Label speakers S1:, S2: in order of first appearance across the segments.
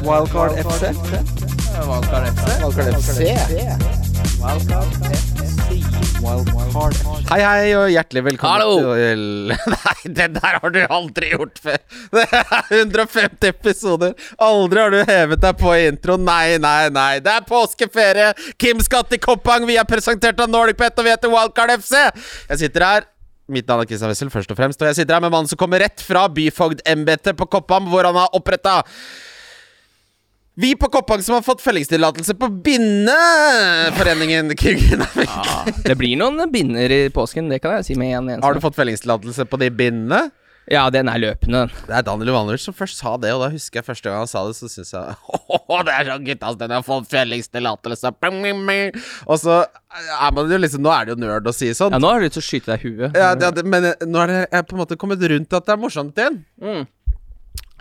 S1: Wildcard FC.
S2: Valgkar FC.
S1: Wildcard FC. Wildcard FC. Hei, hei, og hjertelig velkommen
S2: Hallo.
S1: til Nei, det der har du aldri gjort før! Det er 150 episoder! Aldri har du hevet deg på i intro. Nei, nei, nei. Det er påskeferie! Kim skal til Koppang, vi er presentert av Nordic Pet, og vi heter Wildcard FC! Jeg sitter her Mitt navn er Kristian Wessel, først og fremst, og jeg sitter her med mannen som kommer rett fra byfogdembetet på Koppam, hvor han har oppretta vi på Koppang som har fått fellingstillatelse på Bindeforeningen Kuggenavik.
S2: Det blir noen binder i påsken, det kan jeg si med en eneste.
S1: Har du fått fellingstillatelse på de bindene?
S2: Ja, den er løpende, den.
S1: Det er Daniel Ivanovic som først sa det, og da husker jeg første gang han sa det, så syns jeg Åh, det er sånn gutta, den har fått fellingstillatelse Bing, bing, bing. Og så er man jo liksom Nå er det jo nerd å si sånn.
S2: Ja, nå har du lyst til å skyte deg i huet.
S1: Ja, det, det, men eh, nå er det, jeg er på en måte kommet rundt at det er morsomt igjen.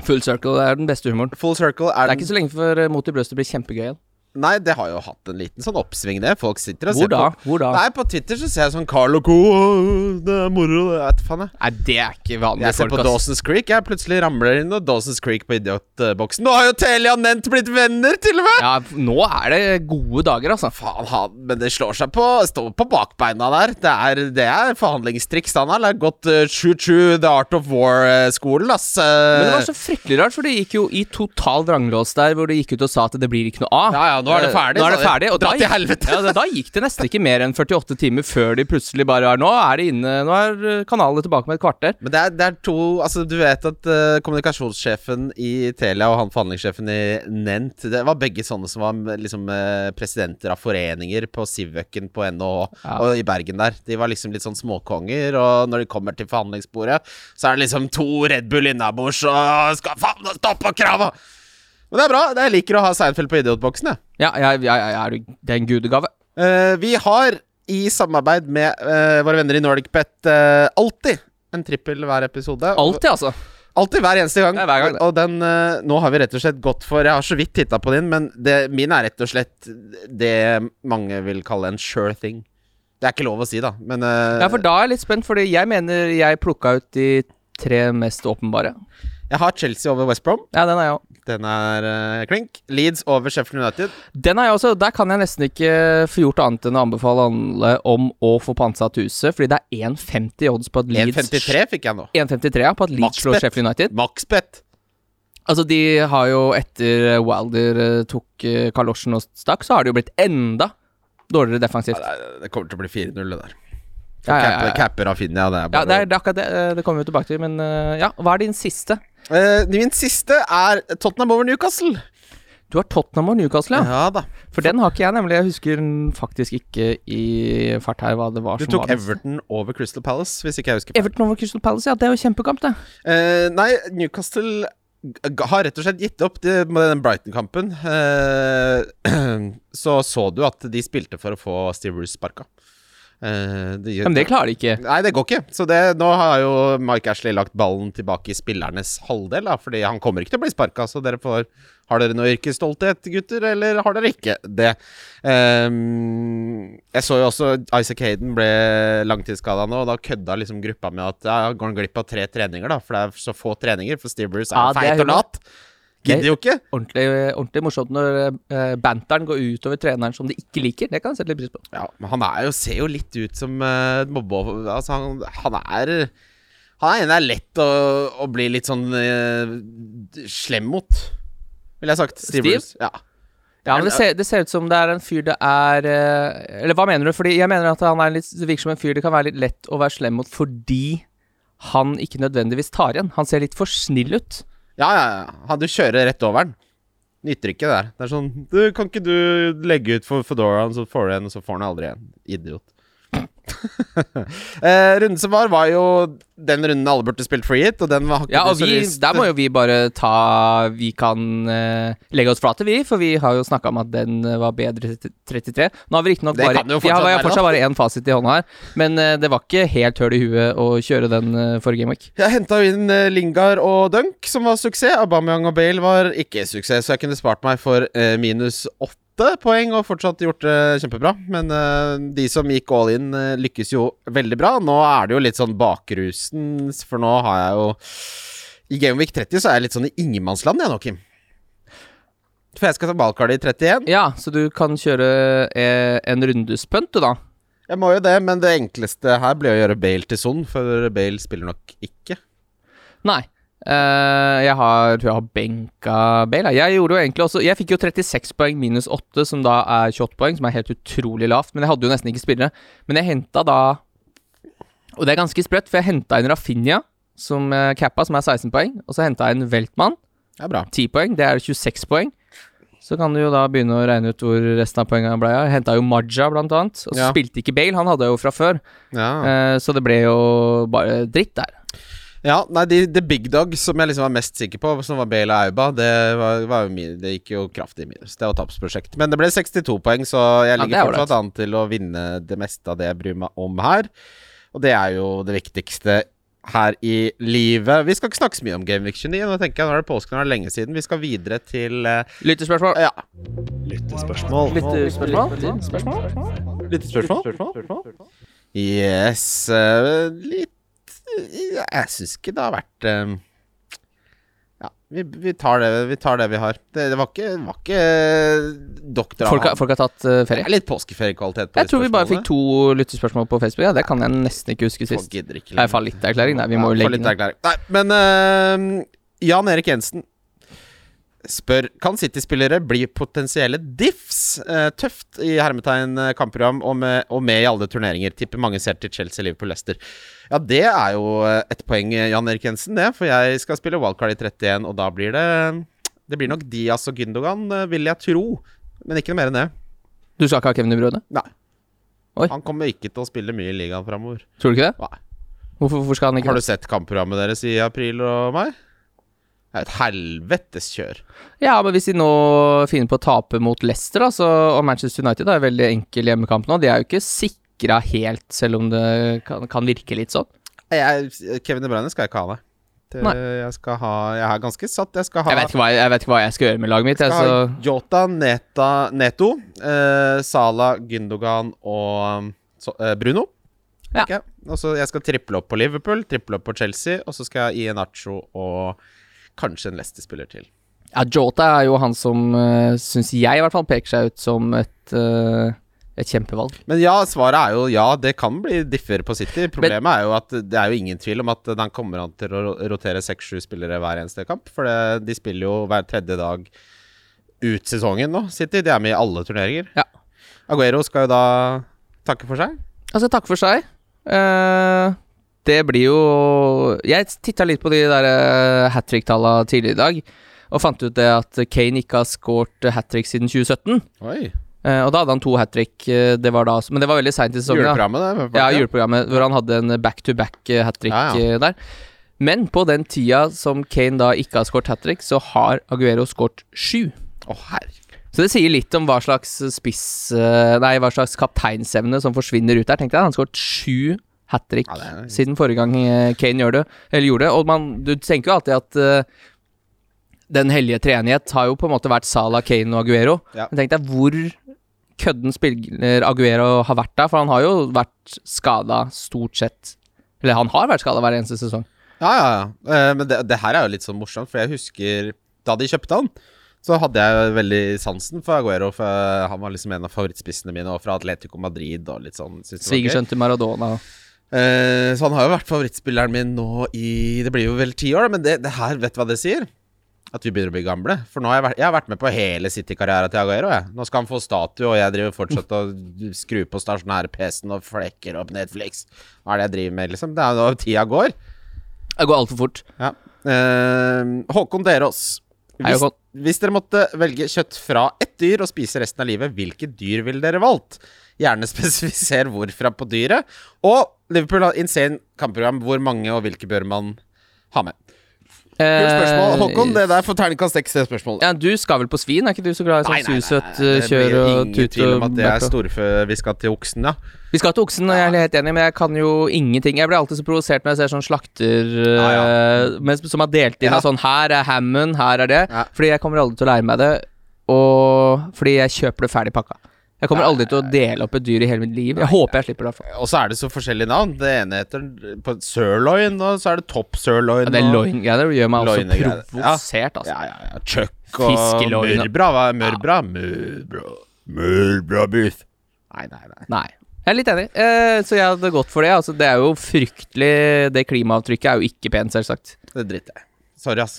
S2: Full circle er den beste humoren.
S1: Full circle er
S2: Det er
S1: den
S2: ikke så lenge før eh, Mot i brøstet blir kjempegøy igjen.
S1: Nei, det har jo hatt en liten sånn oppsving, det. Folk sitter og
S2: Hvor
S1: ser
S2: da?
S1: på.
S2: Hvor da?
S1: Nei, på Twitter så ser jeg sånn Carlo Co. «Åh, Det er moro, det. Jeg vet faen, jeg.
S2: Nei, det er ikke vanlige
S1: Jeg ser
S2: folk,
S1: på Dawson's Creek. Jeg plutselig ramler inn og Dawson's Creek på idiotboksen. Nå har jo Telia og Nent blitt venner, til og med!
S2: Ja, f- nå er det gode dager, altså.
S1: Faen, han, men det slår seg på Står på bakbeina der. Det er, det er forhandlingstriks, han har gått uh, choo-choo The Art of War-skolen, ass.
S2: Men det var så fryktelig rart, for det gikk jo i total vranglås der, hvor det gikk ut og sa at det blir ikke noe av.
S1: Ja, ja, nå er det ferdig,
S2: Nå er det
S1: sa de.
S2: ferdig og
S1: Dra
S2: da
S1: til
S2: gikk-
S1: helvete.
S2: Ja, da- da gikk det nesten ikke mer enn 48 timer før de plutselig bare er Nå er det inne Nå er eh, kanalene tilbake med et kvarter.
S1: Men det er, det er to Altså, du vet at eh, kommunikasjonssjefen i Telia og han forhandlingssjefen i Nent Det var begge sånne som var mm, liksom eh, presidenter av foreninger på Sivøken på NHH og i Bergen der. De var liksom litt sånn småkonger, og når de kommer til forhandlingsbordet, så er det liksom to Red Bull innabords og skal faen stoppe krava! Men det er bra. det Jeg liker å ha Seinfeld på idiotboksen, jeg.
S2: Ja, ja, ja, ja er du- det er en gudegave.
S1: Eh, vi har i samarbeid med eh, våre venner i Nordic Pet eh, alltid en trippel hver episode.
S2: Alltid, altså.
S1: Alltid hver eneste gang.
S2: Det er hver gang, det.
S1: og den, eh, nå har vi rett og slett gått for Jeg har så vidt titta på din, men det, min er rett og slett det mange vil kalle en sure thing. Det er ikke lov å si, da, men eh,
S2: Ja, for da er jeg litt spent, fordi jeg mener jeg plukka ut de tre mest åpenbare.
S1: jeg har Chelsea over West Brom.
S2: Ja, den er jeg òg.
S1: Den er eh, klink. Leeds over Sheffield United.
S2: Den er jeg også. Der kan jeg nesten ikke få gjort annet enn å anbefale alle om å få pantsatt huset, fordi det er 1,50 i odds på at Leeds
S1: 1,53 fikk jeg nå.
S2: 1,53 ja, på at Leeds slår
S1: Maxbet.
S2: Sheffield United.
S1: Maxbet.
S2: Altså, de har jo etter eh, Wilder eh, tok eh, kalosjen og stakk, så har det jo blitt enda dårligere defensivt.
S1: Nei, Det kommer til å bli 4-0, det der.
S2: Ja, ja, ja,
S1: Capper,
S2: ja.
S1: capper Rafinha, det er
S2: Ja,
S1: bare
S2: det er, det er akkurat det. eh, Det kommer vi jo tilbake til. Men eh, ja, hva er din siste?
S1: Eh, Min siste er Tottenham over Newcastle.
S2: Du har Tottenham og Newcastle, ja.
S1: Ja da.
S2: For den har ikke jeg, nemlig. Jeg husker den faktisk ikke i fart her hva det var
S1: Du
S2: som
S1: tok
S2: var den-
S1: Everton over Crystal Palace, hvis ikke jeg husker
S2: Everton over Crystal Palace, ja. Det er jo kjempekamp, det.
S1: Eh, nei, Newcastle g- har rett og slett gitt opp det, med den Brighton-kampen. Eh, så så du at de spilte for å få Steve Bruce sparka. Eh, de-
S2: Men det klarer de ikke.
S1: Nei, det går ikke. Så det, nå har jo Mike Ashley lagt ballen tilbake i spillernes halvdel, da, fordi han kommer ikke til å bli sparka. Så dere får Har dere noe yrkesstolthet, gutter, eller har dere ikke det? Ehm, jeg så jo også Isaac Hayden ble langtidsskada nå, og da kødda liksom gruppa med at ja, går han glipp av tre treninger, da, for det er så få treninger, for Steve Bruce er
S2: Ja, det er
S1: feit og
S2: hyggelig.
S1: lat. Gidder jo ikke.
S2: Ordentlig, ordentlig morsomt når eh, banteren går utover treneren som de ikke liker. Det kan jeg sette litt pris på.
S1: Ja, men han er jo, ser jo litt ut som uh, mobbe... Altså, han, han er Han er en det er lett å, å bli litt sånn eh, slem mot, ville jeg sagt.
S2: Steve?
S1: Bruce. Ja.
S2: Ja, men det ser, det ser ut som det er en fyr det er eh, Eller hva mener du? Fordi jeg mener at han er litt, det virker som en fyr det kan være litt lett å være slem mot fordi han ikke nødvendigvis tar igjen. Han ser litt for snill ut.
S1: ja, ja, ja. Han, du kjører rett over den. Nytter ikke det der. Det er sånn du, Kan ikke du legge ut for Fedoraen, så får du en, og så får han aldri en. Idiot. eh, runden som var, var jo den runden alle burde spilt free hit, og den var
S2: Ja, og vi, der må jo vi bare ta Vi kan eh, legge oss flate, vi, for vi har jo snakka om at den eh, var bedre til 33. Nå har vi riktignok
S1: Det
S2: bare,
S1: kan jo fortsatt
S2: vi har- vi har
S1: være,
S2: fortsatt bare én fasit i hånda her, men eh, det var ikke helt høl i huet å kjøre den eh, forrige gameweek.
S1: Jeg henta inn eh, Lingard og Dunk, som var suksess. Aubameyang og Bale var ikke suksess, så jeg kunne spart meg for eh, minus åtte poeng og fortsatt gjort det kjempebra. Men eh, de som gikk all in, eh, lykkes jo veldig bra. Nå er det jo litt sånn bakrusen, for nå har jeg jo I Game Week 30 så er jeg litt sånn i ingenmannsland, jeg nå, Kim. for jeg skal ta ballkart i 31.
S2: Ja, så du kan kjøre eh, en rundespønt, du, da.
S1: Jeg må jo det, men det enkleste her blir å gjøre Bale til Son, for Bale spiller nok ikke.
S2: Nei. Eh, jeg har, tror jeg har benka Bale. Jeg gjorde jo egentlig også Jeg fikk jo 36 poeng minus 8, som da er 28 poeng, som er helt utrolig lavt. Men jeg hadde jo nesten ikke spillere. Men jeg henta da Og det er ganske sprøtt, for jeg henta en Rafinha, som eh, cappa, som er 16 poeng. Og så henta jeg en Weltmann,
S1: Det er bra.
S2: 10 poeng. Det er 26 poeng. Så kan du jo da begynne å regne ut hvor resten av poengene ble av. Jeg Henta jo Maja, blant annet. Og så
S1: Ja.
S2: spilte ikke Bale, han hadde jeg jo fra før.
S1: Ja.
S2: Eh, så det ble jo bare dritt der.
S1: Ja, nei, de, The Big Dog som jeg liksom var mest sikker på, som var Bale og Auba, det, var, var jo min, det gikk jo kraftig i minus. Det var tapsprosjekt. Men det ble 62 poeng, så jeg
S2: Ja,
S1: ligger
S2: det er
S1: fortsatt an til å vinne det meste av det jeg bryr meg om her. Og det er jo det viktigste her i livet. Vi skal ikke snakke så mye om Game Week 29. Nå tenker jeg, nå er det påsken, nå er det lenge siden. Vi skal videre til eh,
S2: Lyttespørsmål?
S1: Ja.
S3: Lyttespørsmål.
S2: Lyttespørsmål?
S1: Yes eh, Litt Jeg syns ikke det har vært eh, Ja, vi, vi, tar det, vi tar det vi har. Det, det var ikke, var ikke doktor
S2: Folk har, folk har tatt eh,
S1: Det
S2: ferie?
S1: er litt påskeferiekvalitet på
S2: Jeg tror vi bare fikk to lyttespørsmål på Facebook. Ja, det kan jeg nesten ikke huske
S1: sist.
S2: sist. Nei, fallitterklæring. Nei, vi må jo
S1: Ja,
S2: legge
S1: for litt
S2: ned.
S1: erklæring. Nei, men eh, Jan Erik Jensen spør Kan City-spillere bli potensielle diffs? Eh, tøft i hermetegn eh, kampprogram og med, og med i alle turneringer. Tipper mange ser til Chelsea, Liverpool, Leicester. Ja, det er jo eh, et poeng, eh, Jan Erik Jensen, det. For jeg skal spille wildcard i 31, og da blir det Det blir nok Diaz og Gündogan, eh, vil jeg tro. Men ikke noe mer enn det.
S2: Du skal ikke ha Kevin i brødet?
S1: Nei.
S2: Oi.
S1: Han kommer ikke til å spille mye i ligaen framover.
S2: Tror du ikke det?
S1: Nei.
S2: Hvorfor, hvorfor skal han ikke
S1: Har
S2: det?
S1: du sett kampprogrammet deres i april og mai? Det er et helvetes kjør.
S2: Ja, men hvis de nå finner på å tape mot Leicester, da, så, og Manchester United har en veldig enkel hjemmekamp nå, de er jo ikke sikra helt, selv om det kan, kan virke litt sånn.
S1: Jeg, Kevin De Bruyne skal jeg ikke ha, nei. Det,
S2: Nei.
S1: jeg, skal ha, jeg er ganske satt. Jeg skal ha,
S2: Jeg vet ikke altså- hva jeg, jeg, vet ikke hva jeg skal gjøre med laget mitt. Jeg,
S1: skal ha
S2: så
S1: Jota, Neta, Neto, eh, Sala, Gündogan og um, så, eh, Bruno.
S2: Ja.
S1: tenker jeg. Og så jeg skal triple opp på Liverpool, triple opp på Chelsea, og så skal jeg ha Ienacho og kanskje en Leicester-spiller til.
S2: Ja, Jota er jo han som, eh, syns jeg i hvert fall, peker seg ut som et, eh, et kjempevalg.
S1: Men ja, svaret er jo ja, det kan bli differ på City. Problemet er jo at det er jo ingen tvil om at den kommer an til å ro- rotere seks-sju spillere hver eneste kamp. For det, de spiller jo hver tredje dag ut sesongen nå, City. De er med i alle turneringer.
S2: Ja.
S1: Aguero skal jo da takke for seg.
S2: Altså, takk for seg. Eh, det blir jo Jeg titta litt på de der eh, hat trick-talla tidligere i dag, og fant ut det at Kane ikke har scoret hat trick siden 2017.
S1: Oi.
S2: Eh, og da hadde han to hat trick, eh, det var da også, men det var veldig seint i sesongen. da.
S1: Juleprogrammet, det. med
S2: Sånn, Ja,
S1: Parker.
S2: juleprogrammet hvor han hadde en back-to-back eh, hat trick
S1: Ja, ja.
S2: der. Men på den tida som Kane da ikke har skåret hat trick, så har Aguero skåret sju.
S1: Å, herre.
S2: Så det sier litt om hva slags spiss eh, Nei, hva slags kapteinsevne som forsvinner ut der. Tenk deg, han har skåret sju hat trick
S1: Ja, det er-
S2: siden forrige gang eh, Kane gjør det, eller gjorde det. Og man, du tenker jo alltid at eh, den hellige treenighet har jo på en måte vært Salah, Kane og Aguero.
S1: Ja.
S2: Men tenk deg hvor kødden spiller Aguero har vært der, for han har jo vært skada stort sett. Eller han har vært skada hver eneste sesong.
S1: Ja, ja, ja. Eh, Men det, det her er jo litt sånn morsomt, for jeg husker da de kjøpte han, så hadde jeg veldig sansen for Aguero. For han var liksom en av favorittspissene mine, og fra Atletico Madrid og litt sånn. syntes det var gøy.
S2: Svigersønn til Maradona.
S1: Eh, så han har jo vært favorittspilleren min nå i Det blir jo vel ti år, da, men det, det her, vet du hva det sier? At vi begynner å bli gamle. For nå har jeg vært, jeg har vært med på hele City-karriera til Aguero. Jeg. Nå skal han få statue, og jeg driver fortsatt og skrur på stasjonære PC-en og flekker opp Netflix. Hva er det jeg driver med, liksom? Det er jo da tida går.
S2: Det går altfor fort.
S1: Ja. Eh, Håkon Derås.
S2: Hei,
S1: Hvis,
S2: Håkon.
S1: hvis dere måtte velge kjøtt fra ett dyr og spise resten av livet, hvilket dyr ville dere valgt? Gjerne spesifiser hvorfra på dyret. Og Liverpool har insane kampprogram. Hvor mange og hvilke bør man ha med? Kult spørsmål. Håkon, det der får terningkast seks, det spørsmålet.
S2: Eh, Ja, du skal vel på svin? Er ikke du så glad i sånn susøt eh,
S1: Det
S2: kjør
S1: blir
S2: og
S1: ingen
S2: tut
S1: tvil om
S2: og
S1: at det er
S2: bært og-
S1: storfe vi skal til oksen, ja.
S2: Vi skal til oksen, og jeg er helt enig, men jeg kan jo ingenting. Jeg blir alltid så provosert når jeg ser sånn slakter
S1: Ja,
S2: eh, men som er delt inn
S1: Ja.
S2: av sånn Her er hammen, her er det.
S1: Ja.
S2: Fordi jeg kommer aldri til å lære meg det. Og fordi jeg kjøper det ferdig pakka. Jeg kommer aldri til å dele opp et dyr i hele mitt liv. Jeg håper jeg slipper det, i hvert fall.
S1: Og så er det så forskjellige navn. Det ene heter på sirloin, og så er det top sirloin.
S2: Ja, det
S1: og-
S2: loin-greier gjør meg også
S1: Loin-greier.
S2: provosert, altså.
S1: Ja, ja, ja. Chuck og
S2: Fiskeloin og-
S1: mørbra. Hva er mørbra? Mørbra Mørbrabiff. Nei, nei, nei.
S2: Nei. Jeg er litt enig, eh, så jeg hadde gått for det. Altså, det er jo fryktelig Det klimaavtrykket er jo ikke pent, selvsagt.
S1: Det driter jeg i. Sorry, ass.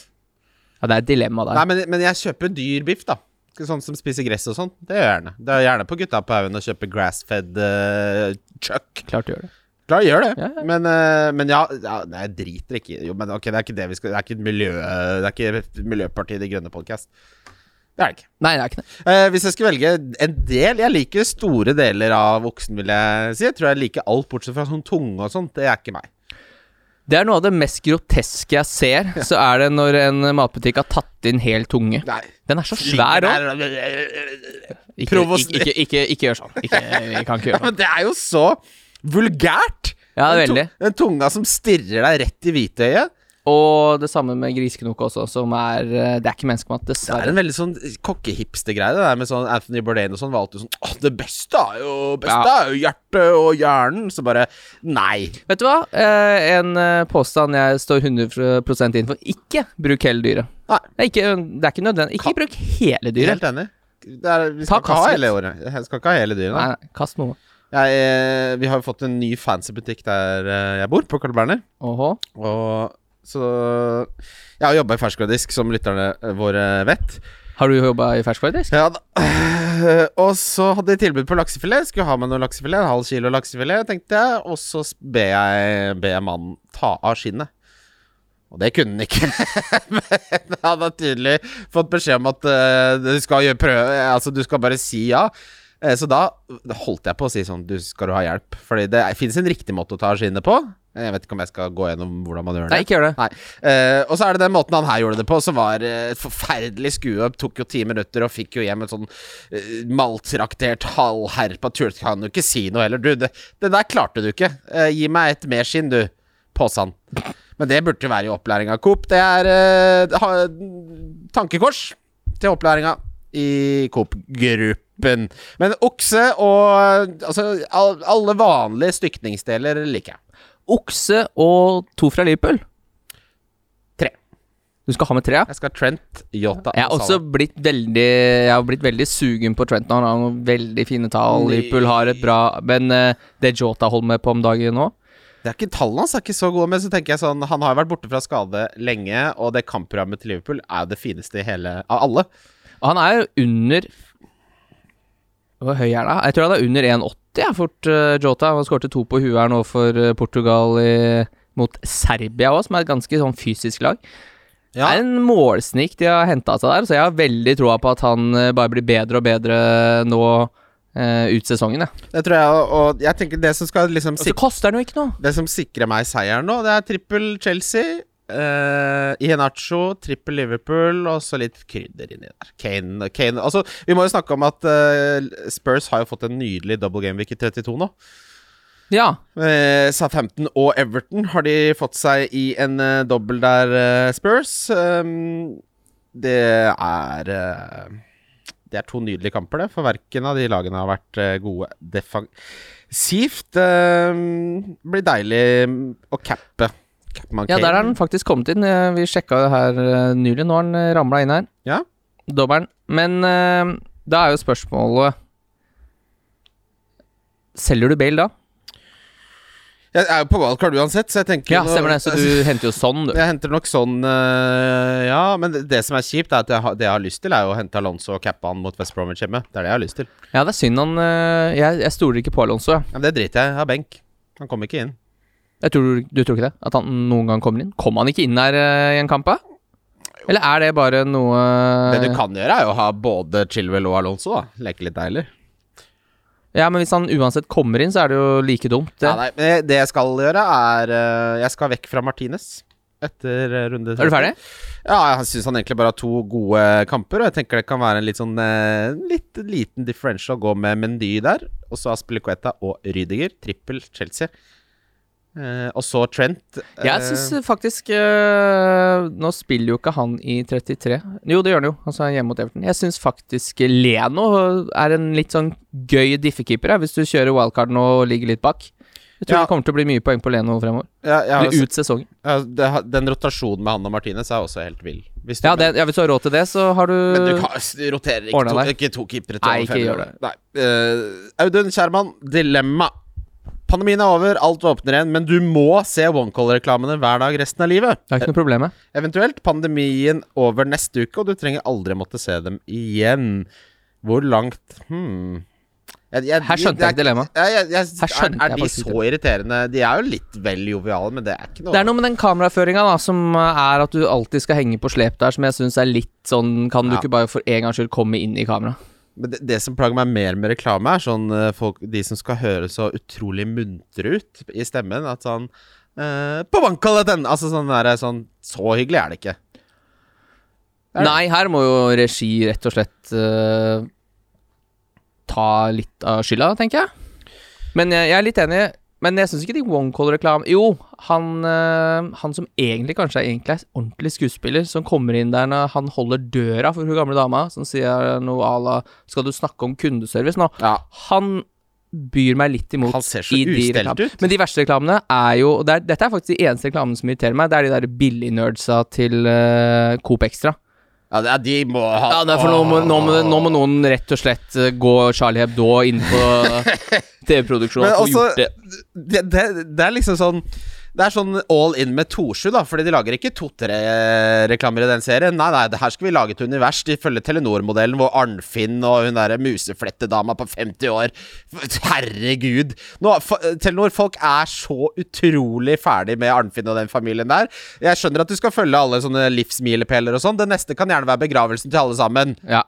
S2: Ja, det er et dilemma der.
S1: Nei, men, men jeg kjøper dyr biff, da. Sånn som spiser gress og sånn. Det gjør jeg gjerne. Det er gjerne på gutta på haugen å kjøpe grass-fed eh, chuck.
S2: Klart du gjør det.
S1: Klar, gjør det.
S2: Ja, ja.
S1: Men, eh, men ja, ja nei, Jeg driter ikke i Jo, men ok, det er ikke det vi skal Det er ikke, et miljø, det er ikke Miljøpartiet De Grønne podcast. Det er det ikke.
S2: Nei, det er ikke det.
S1: Eh, hvis jeg skulle velge en del Jeg liker store deler av oksen, vil jeg si. Jeg tror jeg liker alt bortsett fra sånn tunge og sånt. Det er ikke meg.
S2: Det er noe av det mest groteske jeg ser, så er det når en matbutikk har tatt inn hel tunge.
S1: Nei.
S2: Den er så svær òg. Ikke,
S1: Provos-
S2: ikke, ikke, ikke, ikke gjør sånn. Ikke, jeg kan ikke gjøre sånn.
S1: Men det er jo så vulgært!
S2: Ja,
S1: Den tu-
S2: veldig.
S1: Den tunga som stirrer deg rett i hvitøyet.
S2: Og det samme med griseknoke også, som er eh, Det er ikke menneskemat,
S1: Det er
S2: dessverre.
S1: en veldig sånn kokkehipster-greie. Det der med sånn Anthony Bourdain og sånn var alltid sånn Åh, det beste er jo beste er jo hjertet og hjernen. Så bare Nei.
S2: Vet du hva? Eh, en eh, påstand jeg står 100 inn for. Ikke bruk hele dyret.
S1: Nei.
S2: Det er ikke, det er ikke nødvendig. Ikke bruk hele dyret.
S1: Helt enig. Det er, vi
S2: Ta
S1: skal ikke ha
S2: kast litt.
S1: hele året. Jeg skal ikke ha hele dyret.
S2: Nei,
S1: Nei.
S2: nei, kast noe.
S1: Jeg, eh, vi har jo fått en ny fancy butikk der eh, jeg bor, på Carl Berner.
S2: Åhå.
S1: Og så Jeg har jobba i ferskvaredisk, som lytterne eh, våre vet.
S2: Har du jobba i ferskvaredisk?
S1: Ja, da. Og så hadde de tilbud på laksefilet. Skulle ha med noe laksefilet. En halv kilo laksefilet, tenkte jeg. Og så ber jeg, ber jeg mannen ta av skinnet. Og det kunne han ikke. Men han har tydelig fått beskjed om at eh, du skal gjøre prøve Altså, du skal bare si ja. Eh, Så da holdt jeg på å si sånn Du, skal du ha hjelp? Fordi det fins en riktig måte å ta av skinnet på. Jeg vet ikke om jeg skal gå gjennom hvordan man gjør det.
S2: Nei, ikke gjør det.
S1: Nei. Eh, og så er det den måten han her gjorde det på, som var eh, et forferdelig skue. Tok jo ti minutter og fikk jo hjem et sånn eh, maltraktert halvherpa tur. Kan jo ikke si noe heller. Du, det, det der klarte du ikke. Eh, gi meg et mer skinn, du. Påsan. Men det burde jo være i opplæringa, Coop. Det er eh, ha, tankekors til opplæringa i Coop-gruppen. Men okse og altså, al alle vanlige stykningsdeler liker jeg.
S2: Okse og to fra Liverpool.
S1: Tre.
S2: Du skal ha med tre, ja?
S1: Jeg skal ha Trent, Yota
S2: Jeg har også blitt veldig Jeg har blitt veldig sugen på Trent nå. Han har noen veldig fine tall.
S1: Nei.
S2: Liverpool har et bra Men eh, det Jota holder med på om dagen nå
S1: Det er ikke Tallene hans er ikke så gode, men så tenker jeg sånn Han har jo vært borte fra skade lenge, og det kampprogrammet til Liverpool er jo det fineste i hele av alle.
S2: Og han er jo under Hvor høy er han? Jeg tror han er under 1,80 ja, fort, eh, Jota. Han skårte to på huet her nå for eh, Portugal i, mot Serbia òg, som er et ganske sånn fysisk lag. Det er en målsnik de har henta seg der, så jeg har veldig troa på at han eh, bare blir bedre og bedre nå eh, ut sesongen. Ja.
S1: Det tror jeg, og jeg tenker det som skal liksom
S2: Og så
S1: sikre,
S2: koster han jo ikke noe.
S1: Det som sikrer meg seieren nå, det er trippel Chelsea. Uh, Ienacho, trippel Liverpool og så litt krydder inni der. Kane, Kane Altså, vi må jo snakke om at eh, Spurs har jo fått en nydelig double game week i 32 nå.
S2: Ja,
S1: Eh, Southampton og Everton har de fått seg i en eh, dobbel der, eh, Spurs. Um, det er eh, Det er to nydelige kamper, det. For verken av de lagene har vært eh, gode defensivt. Um, blir deilig mm, å cappe. Capman
S2: Ja,
S1: Kane.
S2: der har den faktisk kommet inn. Eh, Vi sjekka det her eh, nylig. Nå har den ramla inn her.
S1: Ja.
S2: Dommeren. Men eh, da er jo spørsmålet Selger du Bale da?
S1: Jeg er jo på wildcard uansett, så jeg tenker
S2: Ja,
S1: nå-
S2: stemmer det. Så du henter jo sånn, du.
S1: Jeg henter nok sånn eh, Ja, men det, det som er kjipt, er at jeg, har- det jeg har lyst til, er jo å hente Alonso og cappe han mot West Bromwich hjemme. Det er det jeg har lyst til.
S2: Ja, det er synd han eh, Jeg, jeg stoler ikke på Alonso. jeg.
S1: Ja, men det driter jeg i. Jeg har benk. Han kom ikke inn.
S2: Jeg tror, du tror ikke det? At han noen gang kommer inn? Kom han ikke inn her eh, i en kamp, da? Eller er det bare noe eh,
S1: Det du kan gjøre, er jo å ha både Chilwell og Alonso. da Leke litt deilig.
S2: Ja, men hvis han uansett kommer inn, så er det jo like dumt. Det.
S1: Ja, nei, men jeg- det jeg skal gjøre, er eh, Jeg skal vekk fra Martinez etter eh, runde
S2: er du ferdig?
S1: Ja, jeg syns han egentlig bare har to gode kamper, og jeg tenker det kan være en litt sånn eh, litt liten differential å gå med Mendy der. Og så Aspilicueta og Rydiger. Trippel Chelsea. Eh, og så Trent. eh,
S2: Jeg syns faktisk eh, Nå spiller jo ikke han i 33. Jo, det gjør han jo. Altså han er hjemme mot Everton. Jeg syns faktisk Leno er en litt sånn gøy diffekeeper, jeg, hvis du kjører wildcard nå og ligger litt bak. Jeg tror
S1: Ja.
S2: det kommer til å bli mye poeng på Leno fremover.
S1: eh, ja, ja, altså-
S2: Eller ut sesongen.
S1: ja, det, har- den rotasjonen med han og Martinez er også helt vill. Hvis du-
S2: Ja, det, ja, hvis du har råd til det, så har du
S1: Men du, kan, du roterer ikke
S2: ordne
S1: to,
S2: Øh, deg.
S1: ikke to keepere til
S2: Nei,
S1: over
S2: ikke
S1: fem
S2: gjør
S1: år. Nei. Eh, Audun Kjerman, dilemma. Pandemien er over, alt åpner igjen, men du må se OneCall-reklamene hver dag resten av livet.
S2: Det er ikke noe problem med.
S1: Eventuelt pandemien over neste uke, og du trenger aldri måtte se dem igjen. Hvor langt hmm. Jeg- jeg-
S2: Her skjønte
S1: det er
S2: jeg ikke dilemmaet.
S1: Ja, jeg- jeg-
S2: Her
S1: Er,
S2: skjønte
S1: er
S2: jeg
S1: de
S2: faktisk
S1: så irriterende? De er jo litt vel joviale, men det er ikke noe
S2: Det er noe med den kameraføringa da, som er at du alltid skal henge på slep der, som jeg syns er litt sånn Kan du
S1: Ja.
S2: ikke bare for en gangs skyld komme inn i kamera?
S1: Men det, det som plager meg mer med reklame, er sånn eh, folk, de som skal høre så utrolig muntre ut i stemmen. At sånn eh, På bankkalletten! Altså sånn der, sånn Så hyggelig er det ikke. Er det?
S2: Nei, her må jo regi rett og slett eh, ta litt av skylda, tenker jeg. Men jeg, jeg er litt enig. Men jeg syns ikke de OneCall-reklame Jo, han, eh, han som egentlig kanskje er egentlig er ordentlig skuespiller, som kommer inn der når han holder døra for hun gamle dama, som sier noe à la 'Skal du snakke om kundeservice nå?'
S1: Ja.
S2: Han byr meg litt imot.
S1: Han ser så
S2: i de
S1: ustelt
S2: reklamene.
S1: ut.
S2: Men de verste reklamene er jo og det er, Dette er faktisk de eneste reklamene som irriterer meg. Det er de der billignerdsa til eh, Coop Extra.
S1: Ja, det- ja, de må ha
S2: Ja, det er for nå må, nå, må, nå må noen rett og slett eh, gå Charlie Hebdo inn på TV-produksjonen
S1: Men altså-
S2: og få
S1: også-
S2: gjort det.
S1: det, det, det er liksom sånn det er sånn all in med Torsju, da, fordi de lager ikke to-tre reklamer i den serien. Nei, nei, det her skal vi lage et univers ifølge Telenor-modellen, hvor Arnfinn og hun derre museflettedama på 50 år Herregud! Nå, fa- Telenor-folk er så utrolig ferdig med Arnfinn og den familien der. Jeg skjønner at du skal følge alle sånne livsmilepæler og sånn. Det neste kan gjerne være begravelsen til alle sammen.
S2: Ja.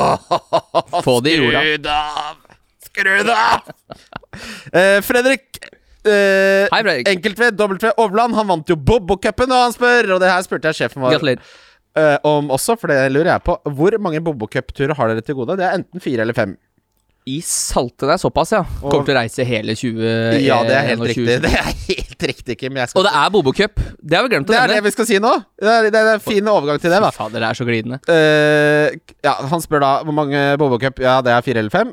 S1: Åh,
S2: Få det i jorda.
S1: Skru det av! Skru det av! Eh, Fredrik eh,
S2: Hei, Fredrik.
S1: Enkelt-V, dobbelt-V, Overland. Han vant jo Bobo-cupen, og han spør Og det her spurte jeg sjefen vår
S2: Gratulerer.
S1: eh, om også, for det lurer jeg på. Hvor mange Bobo-cup-turer har dere til gode? Det er enten fire eller fem.
S2: I salte deg såpass, ja. Kommer til å reise hele 20...
S1: Eh, Ja, det er helt
S2: 21.
S1: riktig. Det er helt riktig, Kim. Jeg skal
S2: Og det er Bobo Cup. Det har vi glemt å
S1: det er det
S2: nevne.
S1: vi skal si nå. Det er, det er en fin overgang til det, da.
S2: Fy Fader, det er så glidende.
S1: Eh, ja, han spør da hvor mange Bobo Cup Ja, det er fire eller fem.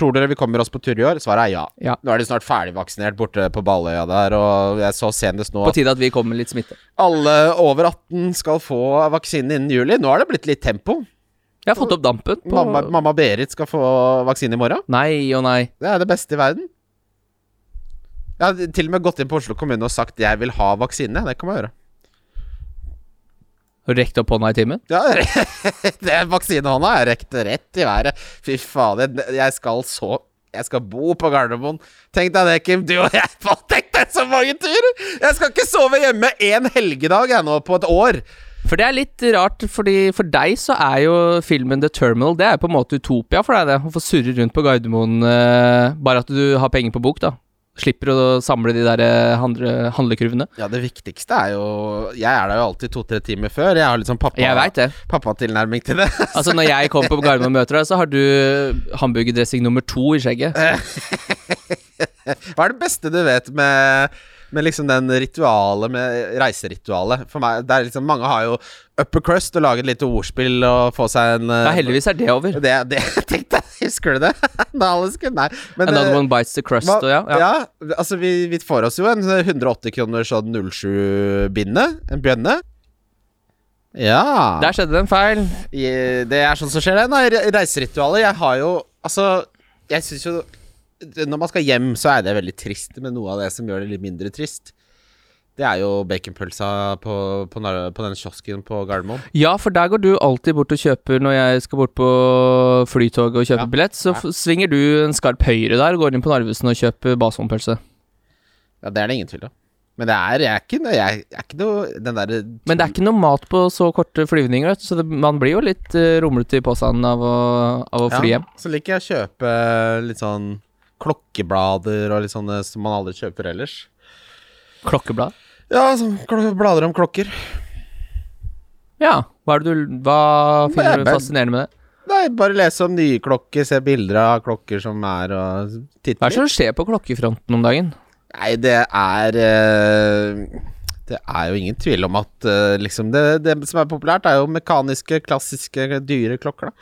S1: Tror dere vi kommer oss på tur i år? Svaret er ja.
S2: Ja.
S1: Nå er de snart ferdigvaksinert borte på Balløya der, og jeg så senest nå
S2: På
S1: at
S2: tide at vi kommer med litt smitte.
S1: alle over 18 skal få vaksine innen juli. Nå er det blitt litt tempo.
S2: Jeg har fått opp dampen. På...
S1: Mamma, mamma Berit skal få vaksine i morgen.
S2: Nei og nei.
S1: Det er det beste i verden. Jeg har til og med gått inn på Oslo kommune og sagt 'jeg vil ha vaksine'. Det kan man gjøre.
S2: Har du Rekt opp hånda i timen.
S1: Ja, det er vaksinehånda er rekt rett i været. Fy fader, jeg skal så Jeg skal bo på Gardermoen. Tenk deg det, Kim. Du og jeg har tenkt deg så mange turer! Jeg skal ikke sove hjemme én helgedag jeg nå på et år.
S2: For det er litt rart, fordi for deg så er jo filmen The Terminal Det er på en måte utopia for deg, det. Å få surre rundt på Gardermoen. eh, bare at du har penger på bok, da. Slipper å samle de der eh, handle, handlekurvene.
S1: Ja, det viktigste er jo Jeg er der jo alltid to-tre timer før. Jeg har litt sånn
S2: Jeg veit
S1: pappa
S2: det.
S1: pappatilnærming til det.
S2: Altså Når jeg kommer på Gardermoen og møter deg, så har du hamburgerdressing nummer to i skjegget.
S1: Hva er det beste du vet med med liksom den ritualet med reiseritualet. For meg, det er liksom, Mange har jo upper crust og lager et lite ordspill og få seg en
S2: Ja,
S1: eh,
S2: heldigvis er det over.
S1: Det, det tenkte jeg, husker du det? Da alle skulle, nei. Men,
S2: Another
S1: eh,
S2: one bites the crust
S1: hva-
S2: og ja. ja.
S1: ja, altså vi, vi får oss jo en 180 kroner sånn 07-binde. En bjønne. Ja.
S2: Der skjedde det en feil.
S1: I- Det er sånn som skjer det. Nei, re- reiseritualet Jeg har jo Altså, jeg syns jo Når man skal hjem, så er det veldig trist, men noe av det som gjør det litt mindre trist, det er jo baconpølsa på, på, Nar- på den kiosken på Gardermoen.
S2: Ja, for der går du alltid bort og kjøper når jeg skal bort på flytoget og
S1: Ja.
S2: kjøper billett. Så f svinger du en skarp høyre der og går inn på Narvesen og kjøper basonpølse.
S1: Ja, det er det ingen tvil om. Men det er, jeg er ikke, noe- jeg er ikke noe Den derre
S2: Men det er ikke noe mat på så korte flyvninger, vet du, så det, man blir jo litt eh, rumlete i posen av å, av å fly hjem.
S1: Så liker jeg å kjøpe litt sånn klokkeblader og litt sånne som man aldri kjøper ellers.
S2: Klokkeblad.
S1: Ja, sånn kl- blader om klokker.
S2: Ja. Hva, er det du, hva
S1: Nei,
S2: finner du
S1: men-
S2: fascinerende med det?
S1: Nei, bare lese om nye klokker, se bilder av klokker som er, og titte
S2: Hva er det som skjer på klokkefronten om dagen?
S1: Nei, det er eh, Det er jo ingen tvil om at eh, liksom det, det som er populært, er jo mekaniske, klassiske, dyre klokker. da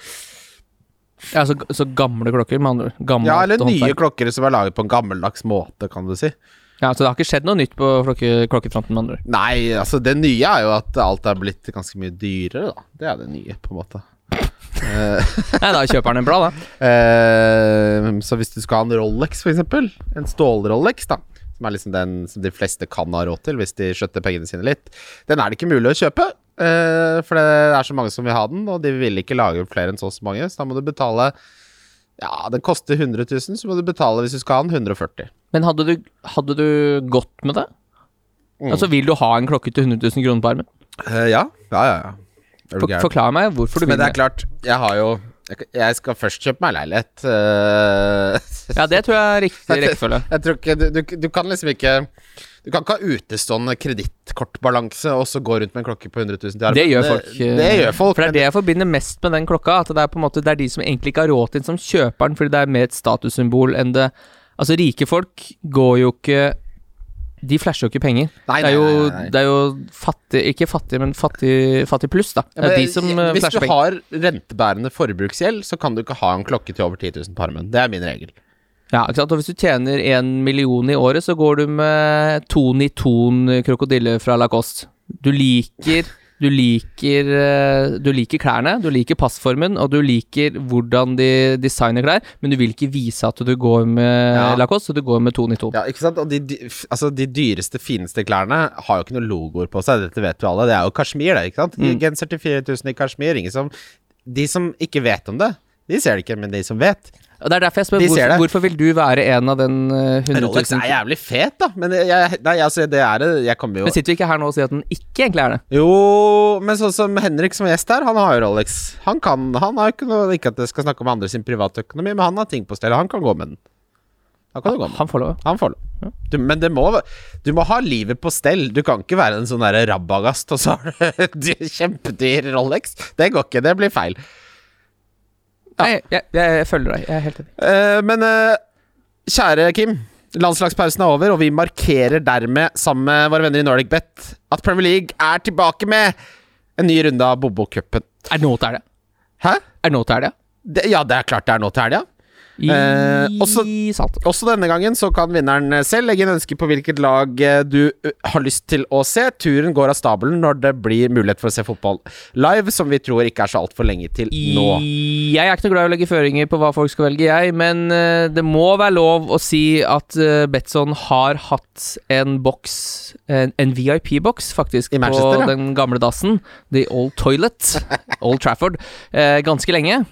S2: Ja, så, så gamle klokker, med andre ord. Gammelt
S1: Ja, eller
S2: håndverk.
S1: nye klokker som er laget på en gammeldags måte, kan du si.
S2: Ja, Så det har ikke skjedd noe nytt på klokke, klokkefronten, med andre ord.
S1: Nei, altså det nye er jo at alt er blitt ganske mye dyrere, da. Det er det nye, på en måte.
S2: Nei, da kjøper han en bra, da.
S1: Eh, så hvis du skal ha en Rolex, for eksempel, en stål-Rolex, da, som er liksom den som de fleste kan ha råd til hvis de skjøtter pengene sine litt, den er det ikke mulig å kjøpe. eh, for det er så mange som vil ha den, og de vil ikke lage flere enn så og så mange. Så da må du betale Ja, den koster 100 000, så må du betale hvis du skal ha den 140
S2: Men hadde du, hadde du gått med det?
S1: Mm.
S2: Altså, vil du ha en klokke til 100 000 kroner på armen?
S1: Eh, ja. ja, ja, ja. Er du
S2: For,
S1: gæren?
S2: forklar meg hvorfor du vil
S1: Men det
S2: det.
S1: er klart, jeg har jo jeg- Jeg skal først kjøpe meg leilighet. eh,
S2: Ja, det tror jeg er riktig rekkefølge.
S1: Jeg tror ikke, du, du, du kan liksom ikke Du kan ikke ha utestående kredittkortbalanse og så gå rundt med en klokke på 100 000 til arbeid.
S2: Det gjør folk. eh,
S1: Det, det gjør folk.
S2: For det er det jeg forbinder mest med den klokka. At det er på en måte Det er de som egentlig ikke har råd til den, som kjøper den, fordi det er mer et statussymbol enn det Altså, rike folk går jo ikke De flasher jo ikke penger.
S1: Nei,
S2: det er jo,
S1: nei, nei, nei.
S2: Det er jo fattig Ikke fattig, men fattig, fattig pluss, da.
S1: Ja,
S2: Det
S1: men
S2: er de som eh,
S1: hvis du
S2: flasher penger.
S1: har rentebærende forbruksgjeld, så kan du ikke ha en klokke til over 10 000 på armen. Det er min regel.
S2: Ja, ikke sant? Og hvis du tjener én million i året, så går du med ton i ton krokodille fra Lacoste. Du liker Du liker eh, Du liker klærne, du liker passformen, og du liker hvordan de designer klær, men du vil ikke vise at du går med
S1: Ja.
S2: Lacoste, så du går med ton i ton.
S1: Ja, ikke sant? Og de, de, f- altså, de dyreste, fineste klærne har jo ikke noen logoer på seg. Dette vet jo alle. Det er jo kasjmir, det. ikke sant?
S2: Mm.
S1: Genser til 4000 i kasjmir. Ingen som De som ikke vet om det, de ser det ikke, men de som vet
S2: Og det er derfor jeg spør
S1: De ser
S2: hvorfor,
S1: det.
S2: hvorfor vil du være en av den eh, 100
S1: Rolex
S2: 000
S1: er jævlig fet, da. Men jeg, nei, altså, det er det Jeg kommer jo
S2: Men sitter vi ikke her nå og sier at den ikke egentlig er det?
S1: Jo, men sånn som Henrik som gjest her, han har jo Rolex. Han kan Han har ikke noe Ikke at jeg skal snakke om andre sin privatøkonomi, men han har ting på stell. Han kan gå med den. Han kan jo gå med den.
S2: Han får lov.
S1: Han får lov. Du, men det må, du må ha livet på stell. Du kan ikke være en sånn derre rabagast, og så har du dy- kjempedyr Rolex. Det går ikke. Det blir feil.
S2: Nei, jeg, jeg, jeg følger deg. Jeg er helt enig.
S1: Eh, men eh, kjære Kim. Landslagspausen er over, og vi markerer dermed, sammen med våre venner i Nordic Bet, at Premier League er tilbake med en ny runde av Bobo-cupen.
S2: Er det nå til helga?
S1: Hæ?
S2: Er det nå til helga?
S1: Det, ja, det er klart det er nå til helga.
S2: I
S1: Eh, også-
S2: Salten.
S1: Også denne gangen så kan vinneren eh, selv legge inn ønske på hvilket lag eh, du eh, har lyst til å se. Turen går av stabelen når det blir mulighet for å se fotball live, som vi tror ikke er så altfor lenge til nå.
S2: Jeg er ikke noe glad i å legge føringer på hva folk skal velge, jeg, men eh, det må være lov å si at eh, Betson har hatt en boks, en, en VIP-boks, faktisk,
S1: I Manchester,
S2: på
S1: ja.
S2: den gamle dassen, The Old Toilet, Old Trafford, eh, ganske lenge.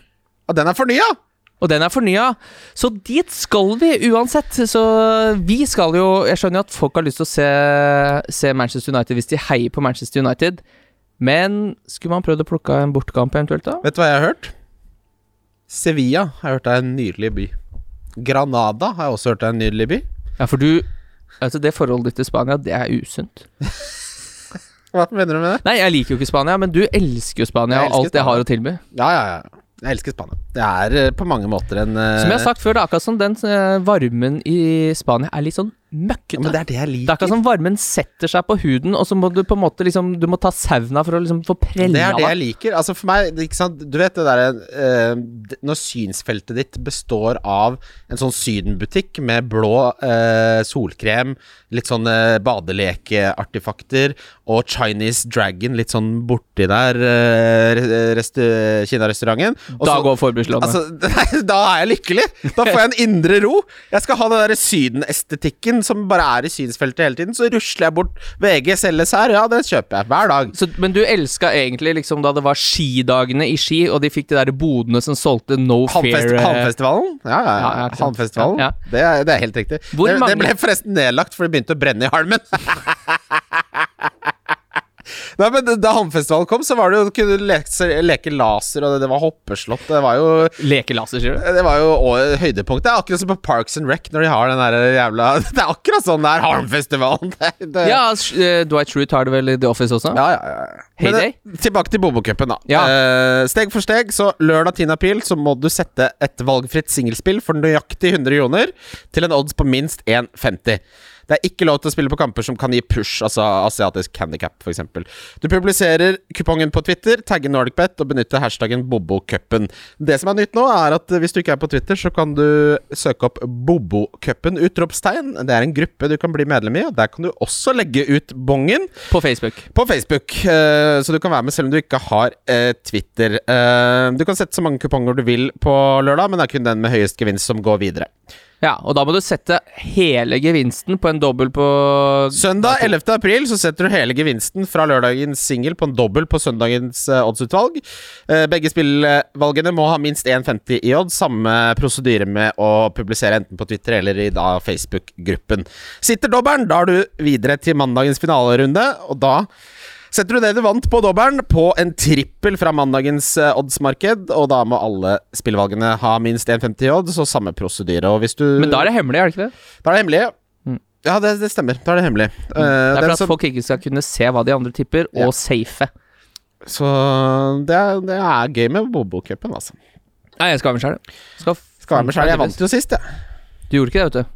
S1: Og den er fornya!
S2: Og den er fornya, så dit skal vi uansett. Så vi skal jo Jeg skjønner jo at folk har lyst til å se, se Manchester United hvis de heier på Manchester United, men skulle man prøvd å plukke en bortekamp eventuelt, da?
S1: Vet du hva jeg har hørt? Sevilla har jeg hørt er en nydelig by. Granada har jeg også hørt er en nydelig by.
S2: Ja, for du Altså, det forholdet ditt til Spania, det er usunt.
S1: Hva mener du med det?
S2: Nei, jeg liker jo ikke Spania, men du elsker jo Spania
S1: Jeg
S2: og alt
S1: elsker
S2: det har å tilby.
S1: Ja, ja, ja. Jeg elsker Spania. Det er eh, på mange måter en eh,
S2: Som jeg har sagt før, det er akkurat som den eh, varmen i Spania er litt sånn
S1: ja, Men
S2: møkkete.
S1: det er det jeg
S2: Det er
S1: liker.
S2: akkurat som varmen setter seg på huden, og så må du på en måte liksom Du må ta sauna for å liksom få
S1: Det
S2: prella
S1: er det
S2: av deg.
S1: jeg liker. Altså for meg, det- ikke sant? Du vet det derre Når synsfeltet ditt består av en sånn Sydenbutikk med blå eh, solkrem, litt sånn eh, badelekeartefakter og Chinese Dragon litt sånn borti der, eh, restau- Kina-restauranten Og
S2: Da
S1: så-
S2: går forbudslånet.
S1: Altså, nei, da er jeg lykkelig! Da får jeg en indre ro. Jeg skal ha den der sydenestetikken som bare er i synsfeltet hele tiden. Så rusler jeg bort VG selges her, ja, det kjøper jeg hver dag.
S2: Så, men du elska egentlig liksom da det var skidagene i Ski, og de fikk de der bodene som solgte No
S1: Halmfest,
S2: Fair eh,
S1: Halmfestivalen? Ja, ja,
S2: Ja, ja,
S1: ja.
S2: ikke sant.
S1: Halmfestivalen.
S2: Ja, ja.
S1: Det, er, det er helt riktig.
S2: Hvor
S1: det,
S2: mange-
S1: det ble forresten nedlagt, for det begynte å brenne i halmen. Nei, men Da Halmfestivalen kom, så var det jo, kunne du leke, leke laser, og det, det var hoppeslott. Det var jo
S2: Lekelaser, sier du?
S1: det var jo å- høydepunktet. Det er akkurat som på Parks and Rec når de har den der jævla Det er akkurat sånn det er Harmfestivalen. Det, det,
S2: Ja, s- eh, Dwight Schrute har det vel i The Office også?
S1: Ja, ja, ja. Men,
S2: Heyday?
S1: eh, tilbake til Bobokupen, da.
S2: Ja.
S1: Eh, steg for steg, så lørdag 10. april så må du sette et valgfritt singelspill for nøyaktig 100 kroner til en odds på minst 1,50. Det er ikke lov til å spille på kamper som kan gi push, altså asiatisk handicap f.eks. Du publiserer kupongen på Twitter, tagger NordicBet og benytter hashtaggen Bobokupen. Det som er nytt nå, er at hvis du ikke er på Twitter, så kan du søke opp Bobokupen utropstegn. Det er en gruppe du kan bli medlem i, og der kan du også legge ut bongen
S2: På Facebook.
S1: på Facebook, eh, så du kan være med selv om du ikke har eh, Twitter. Eh, Du kan sette så mange kuponger du vil på lørdag, men det er kun den med høyest gevinst som går videre.
S2: Ja, og da må du sette hele gevinsten på en dobbel på
S1: Søndag 11. april så setter du hele gevinsten fra lørdagens singel på en dobbel på søndagens eh, oddsutvalg. Eh, Begge spillvalgene må ha minst 1,50 i odds. Samme prosedyre med å publisere enten på Twitter eller i da Facebook-gruppen. Sitter dobbelen, da er du videre til mandagens finalerunde, og da Setter du det du vant på dobbelen, på en trippel fra mandagens eh, oddsmarked, og da må alle spillvalgene ha minst 1,50 i odds, og samme prosedyre. Og hvis du
S2: Men da er det hemmelig, er det ikke det?
S1: da er det hemmelig.
S2: Mm.
S1: Ja, det, det stemmer. Da er det hemmelig. Eh,
S2: Det er
S1: den
S2: for at
S1: som-
S2: folk ikke skal kunne se hva de andre tipper,
S1: Ja.
S2: og safe.
S1: Så det er, det er gøy med Bobo-cupen, altså.
S2: Nei, jeg skal være med sjæl. Skal,
S1: Skal være med sjøl. Jeg vant jo sist, jeg.
S2: Du gjorde ikke det, vet du.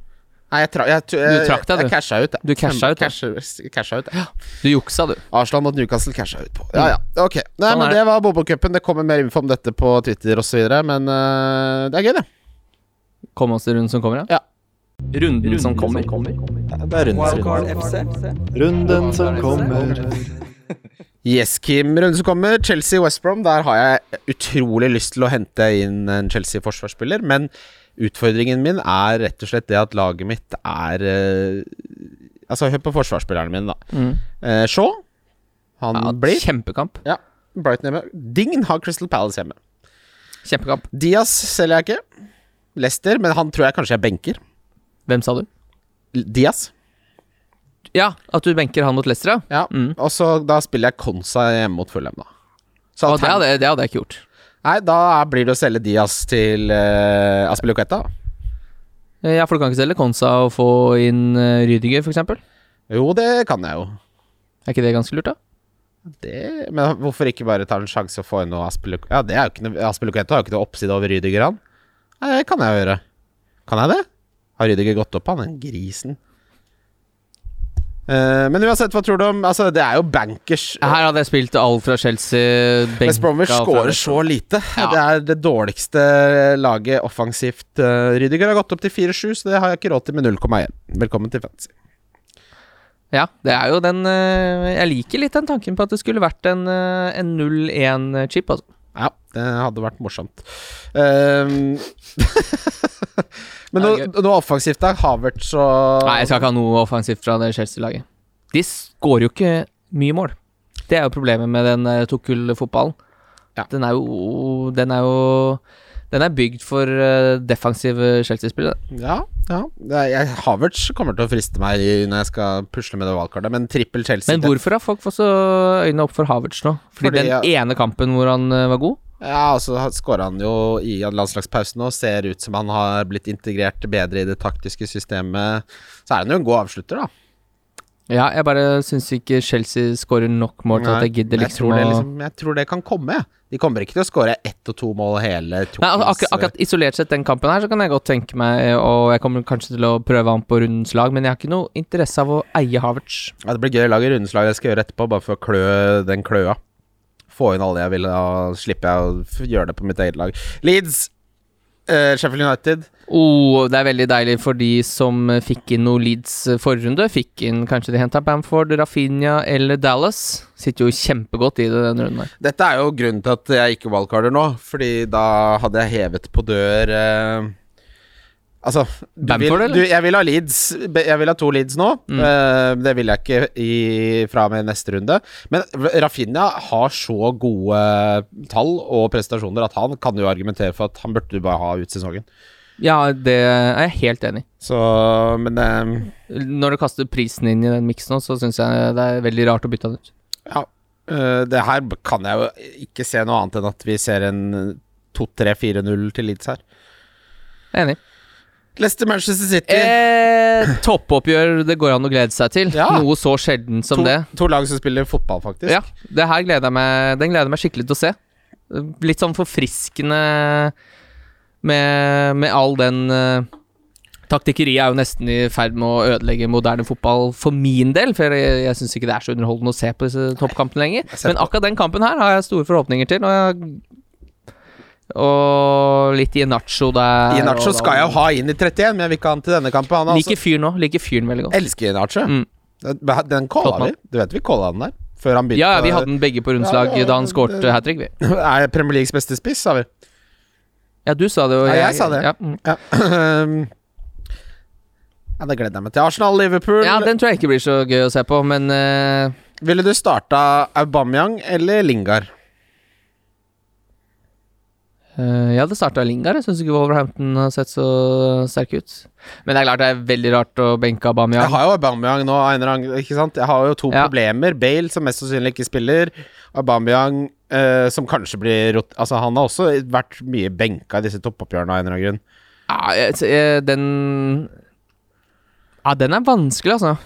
S1: Nei, jeg, tra jeg, tu- jeg,
S2: trakk deg, du.
S1: jeg casha ut, jeg.
S2: Du casha ut, ja.
S1: Casha- casha ut, jeg.
S2: Du juksa, du.
S1: Arsenal mot Newcastle casha ut på. Ja, ja. Ok. Nei,
S2: Mm. Sånn er
S1: men
S2: det.
S1: det var Bobo-cupen. Det kommer mer info om dette på Twitter osv., men øh, det er gøy, det.
S2: Kom oss til runden som kommer,
S1: Ja.
S2: Runden, som kommer.
S1: Det er runden.
S3: Runden som kommer.
S1: Yes, Kim. Runden som kommer, Chelsea-West Brom. Der har jeg utrolig lyst til å hente inn en Chelsea-forsvarsspiller, men utfordringen min er rett og slett det at laget mitt er øh, Altså, hør på forsvarsspillerne mine, da.
S2: Mm.
S1: Eh, Shaw, han
S2: Ja,
S1: blir
S2: Kjempekamp.
S1: ja, Brighton hjemme. Ding har Crystal Palace hjemme.
S2: Kjempekamp.
S1: Diaz selger jeg ikke. Lester, men han tror jeg kanskje jeg benker.
S2: Hvem sa du?
S1: L- Diaz.
S2: Ja, at du benker han mot Leicester, ja.
S1: Ja.
S2: Mm.
S1: Og så da spiller jeg Konsa hjemme mot Fulham, da. Så
S2: Å, det,
S1: altern-
S2: hadde, det hadde jeg ikke gjort.
S1: Nei, da er- blir det å selge Diaz til uh, Aspilicueta.
S2: Ja, for du kan ikke selge Konsa og få inn eh, Rüdiger, for eksempel
S1: Jo, det kan jeg jo.
S2: Er ikke det ganske lurt, da?
S1: Det, men hvorfor ikke bare ta en sjanse og få inn noe Aspilicueta? Ja, det er jo ikke noe- Aspilicueta har jo ikke noe oppside over Rydiger, han. Nei, det kan jeg jo gjøre. Kan jeg det? Har Rydiger gått opp, han? Den grisen. Eh, men uansett, hva tror du om Altså, det er jo bankers.
S2: Her hadde jeg spilt alt fra Chelsea benka
S1: West Bromwich
S2: fra-
S1: scorer så lite.
S2: Ja.
S1: Det er det dårligste laget offensivt. Uh, Rydiger har gått opp til 4-7, så det har jeg ikke råd til med 0,1. Velkommen til Fantasy.
S2: Ja, det er jo den eh, Jeg liker litt den tanken på at det skulle vært en, eh, en 0-1-chip, altså.
S1: Ja, det hadde vært morsomt. Ehm, men
S2: Ja,
S1: noe, noe offensivt der. Havertz og
S2: Nei, jeg skal ikke ha noe offensivt fra det Chelsea-laget. De skårer jo ikke mye mål. Det er jo problemet med den eh, Tuchel-fotballen.
S1: Ja.
S2: Den er jo Den er jo Den er bygd for eh, defensive Chelsea-spillere.
S1: Ja, ja. Det er- Jeg, Havertz kommer til å friste meg i- når jeg skal pusle med det valgkartet, men trippel Chelsea
S2: Men hvorfor har folk fått så øynene opp for Havertz nå? Fordi,
S1: Fordi
S2: den
S1: jeg-
S2: ene kampen hvor han eh, var god?
S1: Ja, og så skåra han jo i landslagspausen og ser ut som han har blitt integrert bedre i det taktiske systemet. Så er han jo en god avslutter, da.
S2: Ja, jeg bare syns ikke Chelsea skårer nok mål til at jeg
S1: Nei,
S2: gidder
S1: men jeg
S2: liksom
S1: tror det,
S2: å
S1: liksom, jeg tror det kan komme. jeg. De kommer ikke til å skåre ett og to mål hele
S2: Nei, altså, akkurat, akkurat isolert sett den kampen her, så kan jeg godt tenke meg eh, Og jeg kommer kanskje til å prøve han på rundens lag, men jeg har ikke noe interesse av å eie Havertz.
S1: Ja, det blir gøy å lage rundeslag jeg skal gjøre etterpå, bare for å klø den kløa. Få inn alle jeg vil, og slipper jeg å f- gjøre det på mitt eget lag. Leeds, eh, Sheffield United.
S2: Oh, det er veldig deilig for de som eh, fikk inn noe Leeds eh, forrige runde. Fikk inn kanskje de henta Bamford, Rafinha eller Dallas. Sitter jo kjempegodt i det denne runden her.
S1: Dette er jo grunnen til at jeg ikke wildcarder nå, fordi da hadde jeg hevet på dør eh, Altså du
S2: Bamford,
S1: vil,
S2: eller? Mm.
S1: du, jeg vil ha Leeds. Be- Jeg vil ha to Leeds nå. Eh, det vil jeg ikke i, fra og med neste runde. Men R- Rafinha har så gode tall og prestasjoner at han kan jo argumentere for at han burde du bare ha ut sesongen.
S2: Ja, det er jeg helt enig i.
S1: Så, men eh,
S2: Når du kaster prisen inn i den miksen, også, så syns jeg det er veldig rart å bytte han ut.
S1: ja, eh, det her kan jeg jo ikke se noe annet enn at vi ser en 2-3-4-0 til Leeds her.
S2: Jeg er Enig.
S1: Leicester Manchester City.
S2: Eh, toppoppgjør det går an å glede seg til.
S1: Ja.
S2: Noe så sjelden som
S1: to,
S2: det.
S1: to lag som spiller fotball, faktisk.
S2: Ja, det her gleder jeg meg Den gleder jeg meg skikkelig til å se. Litt sånn forfriskende med, med all den eh, Taktikkeriet er jo nesten i ferd med å ødelegge moderne fotball for min del, for jeg, jeg syns ikke det er så underholdende å se på disse toppkampene lenger.
S1: ser
S2: Men
S1: på-
S2: akkurat den kampen her har jeg store forhåpninger til. Og, jeg, og litt Inacho der.
S1: Inacho
S2: og-
S1: skal jeg jo ha inn i 31, men jeg vil ikke ha han til denne kampen. Han er altså
S2: Liker fyren nå. Liker fyren veldig godt.
S1: Elsker Inacho.
S2: Mm.
S1: Den- Den calla
S2: Flott
S1: vi. Du vet vi calla den der? Før han begynte
S2: Ja, vi hadde den begge på rundslag
S1: Ja, ja,
S2: da han
S1: det-
S2: skårte hat trick, vi.
S1: Er Premier Leagues beste spiss, sa vi.
S2: Ja, du sa det, og
S1: Ja, jeg sa det.
S2: Ja, mm.
S1: Ja, ja det gleder jeg meg til. Arsenal-Liverpool.
S2: ja, den tror jeg ikke blir så gøy å se på, men eh,
S1: Ville du starta Aubameyang eller Lingard?
S2: Eh, ja, det starta Lingard. Jeg syns ikke Wolverhampton har sett så sterke ut. Men det er klart det er veldig rart å benke
S1: Jeg
S2: Aubameyang.
S1: har jo Aubameyang nå. av en eller annen- Ikke sant? Jeg har jo to
S2: Ja.
S1: problemer. Bale, som mest sannsynlig ikke spiller. Aubameyang, eh, som kanskje blir rot... Altså, han har også vært mye benka i disse toppoppgjørene av en eller annen grunn.
S2: Ja, jeg- eh, den Ja, den er vanskelig, altså.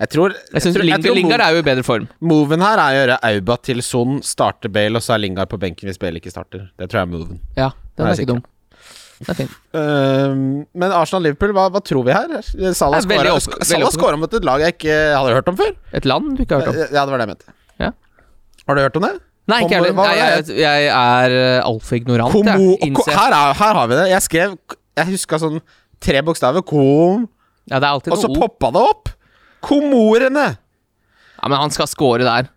S1: Jeg tror,
S2: Jeg synes
S1: tror-
S2: Lingard,
S1: tror
S2: Lingard er jo i bedre form.
S1: Moven her er å gjøre Auba til Son, starte Bale, og så er Lingard på benken hvis Bale ikke starter. Det tror jeg er moven.
S2: Ja, den
S1: Nei,
S2: er
S1: sikkert.
S2: ikke dum. Den er fin.
S1: Ehm, men Arsenal-Liverpool, hva, hva tror vi her? Salah
S2: Det er veldig
S1: skåra-
S2: opp-
S1: Sk-
S2: veldig
S1: Salah
S2: opp-
S1: skåra mot et lag jeg ikke hadde hørt om før.
S2: Et land du ikke har hørt om?
S1: Ja, det var det jeg mente.
S2: Ja.
S1: Har du hørt om det?
S2: Nei, ikke heller.
S1: Hva var
S2: Nei,
S1: det
S2: Jeg, jeg er eh, altfor ignorant,
S1: Komo
S2: jeg. Innser. jeg.
S1: her, er, her har vi det. Jeg skrev Jeg huska sånn tre bokstaver. Kom
S2: Ja, det er alltid
S1: Og så
S2: noe O.
S1: poppa det opp! Komorene!
S2: Ja, men han skal score der.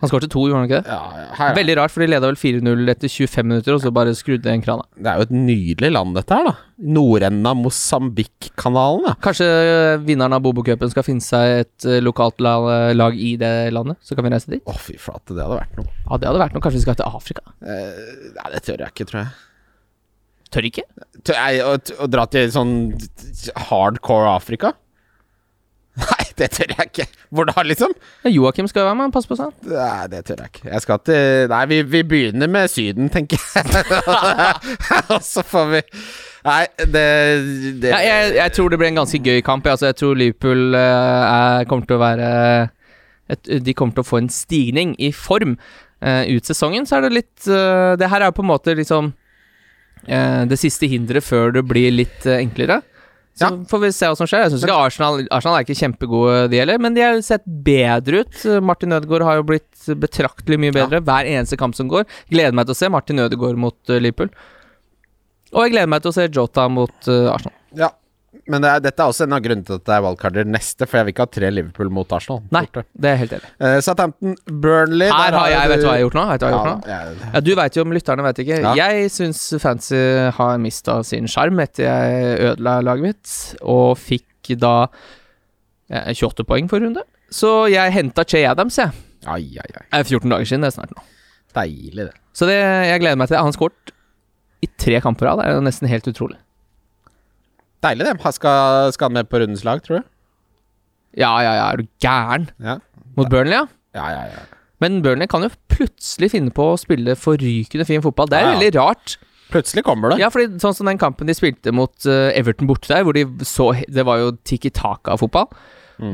S2: Han skårte to, gjorde han ikke det?
S1: Ja, ja, her, er-
S2: Veldig rart, for de leda vel 4-0 etter 25 minutter, og så bare skrudde den krana.
S1: Det er jo et nydelig land, dette her, da. Nordenden av Mosambik-kanalen, ja.
S2: Kanskje ø, vinneren av Bobokupen skal finne seg et ø, lokalt la- lag i det landet? Så kan vi reise dit?
S1: Å, fy flate, det hadde vært noe.
S2: Ja, det hadde vært noe. Kanskje vi skal til Afrika?
S1: Nei, det tør jeg ikke, tror jeg.
S2: Tør ikke?
S1: Tør jeg å, å dra til sånn hardcore Afrika? Nei, det tør jeg ikke. Hvor da, liksom?
S2: Ja, Joakim skal jo være med, pass på seg.
S1: Nei, det tør jeg ikke. Jeg skal til Nei, vi, vi begynner med Syden, tenker jeg. Og så får vi Nei, det, det
S2: Ja, jeg, jeg tror det blir en ganske gøy kamp. jeg. Altså, jeg tror Liverpool ø, er, kommer til å være et, De kommer til å få en stigning i form. Eh, ut sesongen så er det litt ø, Det her er jo på en måte liksom eh, det siste hinderet før det blir litt eh, enklere. Så
S1: Ja.
S2: får vi se hva som skjer. Jeg synes ikke Arsenal, Arsenal er ikke kjempegode, de heller, men de har sett bedre ut. Martin Ødegaard har jo blitt betraktelig mye bedre hver eneste kamp som går. Gleder meg til å se Martin Ødegaard mot eh, Liverpool. Og jeg gleder meg til å se Jota mot eh, Arsenal.
S1: Ja. Men det er, dette er også en av grunnene til at det er wildcarder neste, for jeg vil ikke ha tre Liverpool mot Arsenal.
S2: Nei, det er jeg helt enig. i.
S1: Uh, Southampton, Burnley
S2: Her
S1: der
S2: har jeg,
S1: du-
S2: vet du hva jeg har gjort nå? Vet du hva jeg har
S1: Ja,
S2: gjort nå?
S1: ja,
S2: Ja, du veit jo om lytterne veit ikke.
S1: Ja.
S2: Jeg syns Fancy har mista sin sjarm etter jeg ødela laget mitt, og fikk da eh, 28 poeng for runde. Så jeg henta Che Adams, jeg.
S1: Ai, ai, ai.
S2: Det er 14 dager siden, det er snart nå.
S1: Deilig, det.
S2: Så det, jeg gleder meg til det. Han skåret i tre kamper av, det er jo nesten helt utrolig.
S1: Deilig, det. Han Skal, skal han med på rundens lag, tror du?
S2: Ja, ja, ja, er du gæren?
S1: Ja.
S2: Mot Burnley, ja.
S1: Ja, ja, ja.
S2: Men Burnley kan jo plutselig finne på å spille forrykende fin fotball. Det er
S1: Ja, ja.
S2: veldig rart.
S1: Plutselig kommer det.
S2: Ja, fordi sånn som den kampen de spilte mot eh, Everton borte der, hvor de så Det var jo tiki taka-fotball.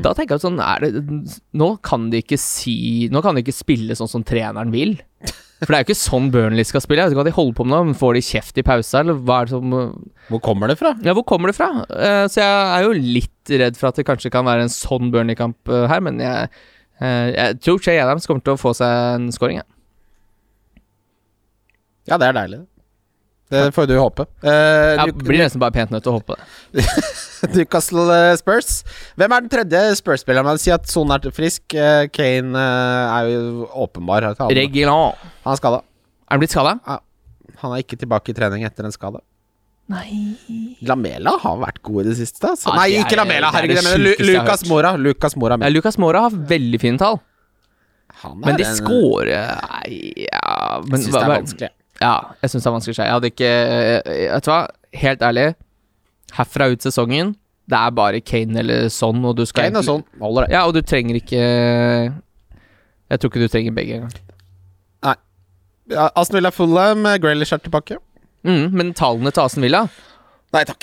S2: Da tenker jeg at sånn er det Nå kan de ikke si Nå kan de ikke spille sånn som treneren vil. For det er jo ikke sånn Burnley skal spille. Jeg vet ikke hva de holder på med nå. men Får de kjeft i pausa, eller hva er det som
S1: Hvor kommer det fra?
S2: Ja, hvor kommer det fra? Eh, så jeg er jo litt redd for at det kanskje kan være en sånn Burnley-kamp eh, her, men jeg, eh, jeg tror Che Adams kommer til å få seg en scoring, jeg.
S1: Ja, det er deilig. Det Det får du håpe. Eh,
S2: Jeg
S1: Luke-
S2: blir nesten bare pent nødt til å håpe det.
S1: Newcastle eh, Spurs. Hvem er den tredje Spurs-spilleren? Man sier at Son er til frisk. eh, Kane eh, er jo åpenbar. Han-
S2: Reguilon.
S1: Han er skada.
S2: Er han blitt skada?
S1: Han er ikke tilbake i trening etter en skade.
S2: Nei
S1: Lamela har vært god i det siste. Altså.
S2: Ja,
S1: Nei,
S2: det er-
S1: ikke Lamela!
S2: det er
S1: Herregud, jeg
S2: det
S1: mener Lu-
S2: sjukeste jeg har
S1: Lucas
S2: hørt.
S1: Mora. Lucas Mora
S2: ja,
S1: men
S2: Lucas Mora har veldig fine tall,
S1: han er
S2: men de
S1: en-
S2: scorer Nei, ja men,
S1: Jeg syns
S2: hva-
S1: det er
S2: hva-
S1: vanskelig.
S2: Ja, jeg syns det er vanskelig. å si. Jeg hadde ikke eh, Vet du hva, helt ærlig. Herfra ut sesongen, det er bare Kane eller Son, og du skal
S1: Kane og sånn holder det.
S2: Ja, og du trenger ikke Jeg tror ikke du trenger begge engang.
S1: Ja, Aston Villa Fulham, eh, Grealish er tilbake.
S2: Mm, men tallene til Asen Villa
S1: Nei takk.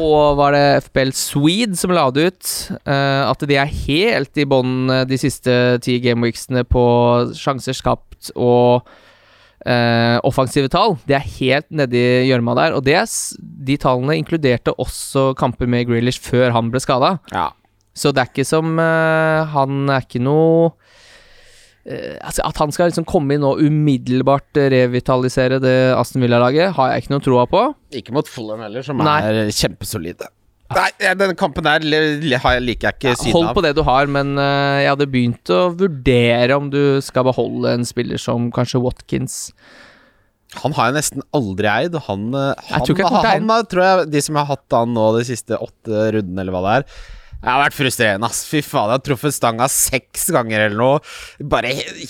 S2: Og var det FBL Swede som la det ut eh, at de er helt i bånn eh, de siste ti gameweeksene på sjanser skapt og eh, offensive tall. Det er helt nedi gjørma der. Og det, er s- de tallene inkluderte også kamper med Grealish før han ble skada.
S1: Ja.
S2: Så det er ikke som eh, Han er ikke noe eh, altså At han skal liksom komme inn og umiddelbart eh, revitalisere det Aston Villa-laget, har jeg ikke noe troa på.
S1: Ikke mot Fulham heller, som
S2: Nei.
S1: er kjempesolide. Nei, ja, denne kampen der le- le- har jeg- liker jeg ikke synet
S2: Hold
S1: av.
S2: på det du har, men eh, jeg hadde begynt å vurdere om du skal beholde en spiller som kanskje Watkins.
S1: Han har jeg nesten aldri eid. og Han, eh, han,
S2: tror ikke jeg kommer til å
S1: han,
S2: eie den.
S1: har- tror jeg, de som har hatt han nå de siste åtte rundene, eller hva det er jeg har vært frustrerende, ass. Fy faen, jeg har truffet stanga seks ganger eller noe. Bare he-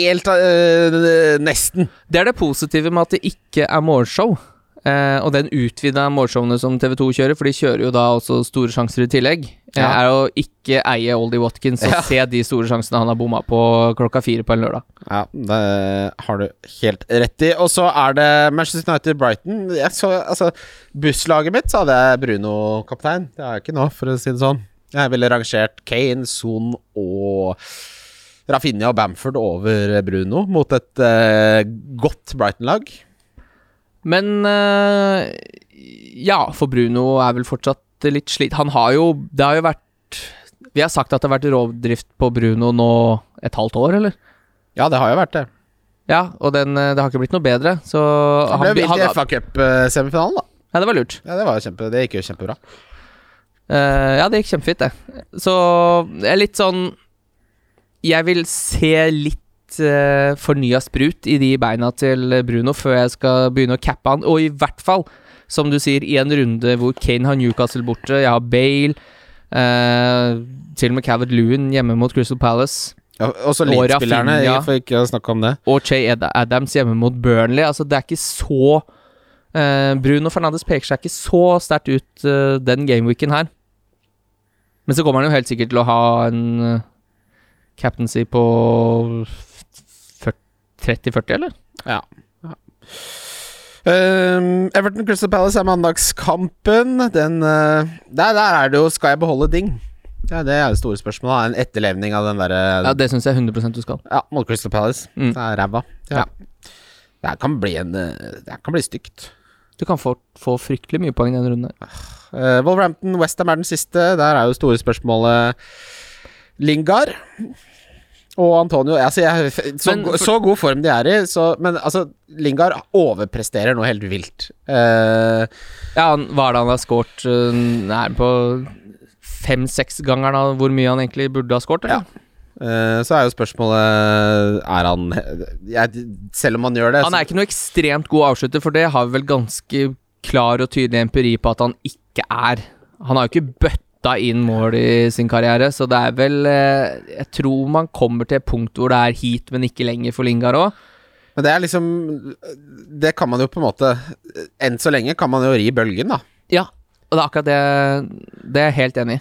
S1: helt eh, Nesten.
S2: Det er det positive med at det ikke er morgenshow. Eh, og den utvida morgenshowene som TV2 kjører, for de kjører jo da også store sjanser i tillegg, eh,
S1: Ja.
S2: er å ikke eie Oldie Watkins og
S1: Ja.
S2: se de store sjansene han har bomma på klokka fire på en lørdag.
S1: Ja, det har du helt rett i. Og så er det Manchester United-Brighton. Jeg så, altså, Busslaget mitt så hadde jeg Bruno kaptein. Det har jeg ikke nå, for å si det sånn. Jeg ville rangert Kane, Son og Rafinha og Bamford over Bruno mot et eh, godt Brighton-lag.
S2: Men eh, ja, for Bruno er vel fortsatt litt slit. Han har jo Det har jo vært Vi har sagt at det har vært rovdrift på Bruno nå et halvt år, eller?
S1: Ja, det har jo vært det.
S2: Ja, og den, eh, det har ikke blitt noe bedre, så
S1: Han ble
S2: han-
S1: vilt i
S2: han-
S1: FA Cup-semifinalen, da.
S2: Ja, det var lurt.
S1: Ja, det, var jo kjempe, det gikk jo kjempebra.
S2: Eh, ja, det gikk kjempefint, det. Så det er litt sånn Jeg vil se litt uh, fornya sprut i de beina til Bruno før jeg skal begynne å cappe han. Og i hvert fall, som du sier, i en runde hvor Kane har Newcastle borte, jeg har Bale eh, Til og med Cavett Lewin hjemme mot Crystal Palace.
S1: Ja, Og så
S2: Og
S1: Leeds-spillerne,
S2: Rafinha.
S1: for ikke å snakke om det.
S2: Og Che Ed- Adams hjemme mot Burnley. Altså, det er ikke så eh, Bruno Fernandes peker seg ikke så sterkt ut eh, den gameweeken her. Men så kommer han jo helt sikkert til å ha en eh, captaincy på fyr- 30-40, eller?
S1: Ja. Ehm, Everton Crystal Palace er mandagskampen. Den, eh, der, der er det jo 'skal jeg beholde ding'? Ja, det er jo det store spørsmålet. En etterlevning av den derre
S2: Ja,
S1: ja,
S2: Det syns jeg 100 du skal.
S1: mot Crystal Palace.
S2: Mm.
S1: Det er ræva. Ja.
S2: Ja.
S1: Det her kan bli en eh, Det her kan bli stygt.
S2: Du kan få, få fryktelig mye poeng i den runden. her.
S1: Uh, Wolverhampton Westham er den siste. Der er jo store spørsmålet Lingard og Antonio. Altså, jeg, så,
S2: Men
S1: go-
S2: for-
S1: så god form de er i, så Men altså, Lingard overpresterer noe helt vilt. Eh,
S2: Ja, han, Hva er det han har scoret? eh, nær på fem-seks-gangeren av hvor mye han egentlig burde ha scoret? eller?
S1: Eh, Så er jo spørsmålet Er han jeg, Selv om han gjør det
S2: Han er
S1: så-
S2: ikke noe ekstremt god avslutter, for det har vi vel ganske klar og tydelig empiri på at han ikke er. Han har jo ikke bøtta inn mål i sin karriere, så det er vel eh, Jeg tror man kommer til et punkt hvor det er hit, men ikke lenger for Lingard òg.
S1: Men det er liksom Det kan man jo på en måte Enn så lenge kan man jo ri bølgen da
S2: Ja, og det er akkurat det Det er jeg helt enig i.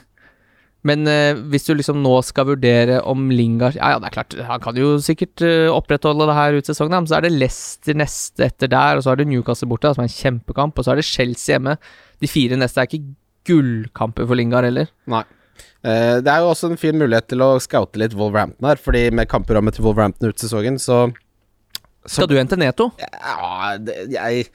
S2: Men eh, hvis du liksom nå skal vurdere om Lingard Ja, ja, det er klart, han kan jo sikkert eh, opprettholde det her ut sesongen, da, men så er det Leicester neste etter der, og så er det Newcastle borte, da, som er en kjempekamp, og så er det Chelsea hjemme. De fire neste er ikke gullkamper for Lingard heller.
S1: Nei Eh, Det er jo også en fin mulighet til å scoute litt Wolverhampton her Fordi med kampprogrammet til Wolverhampton ut sesongen Så
S2: Skal du hente Neto?
S1: Ja, det, jeg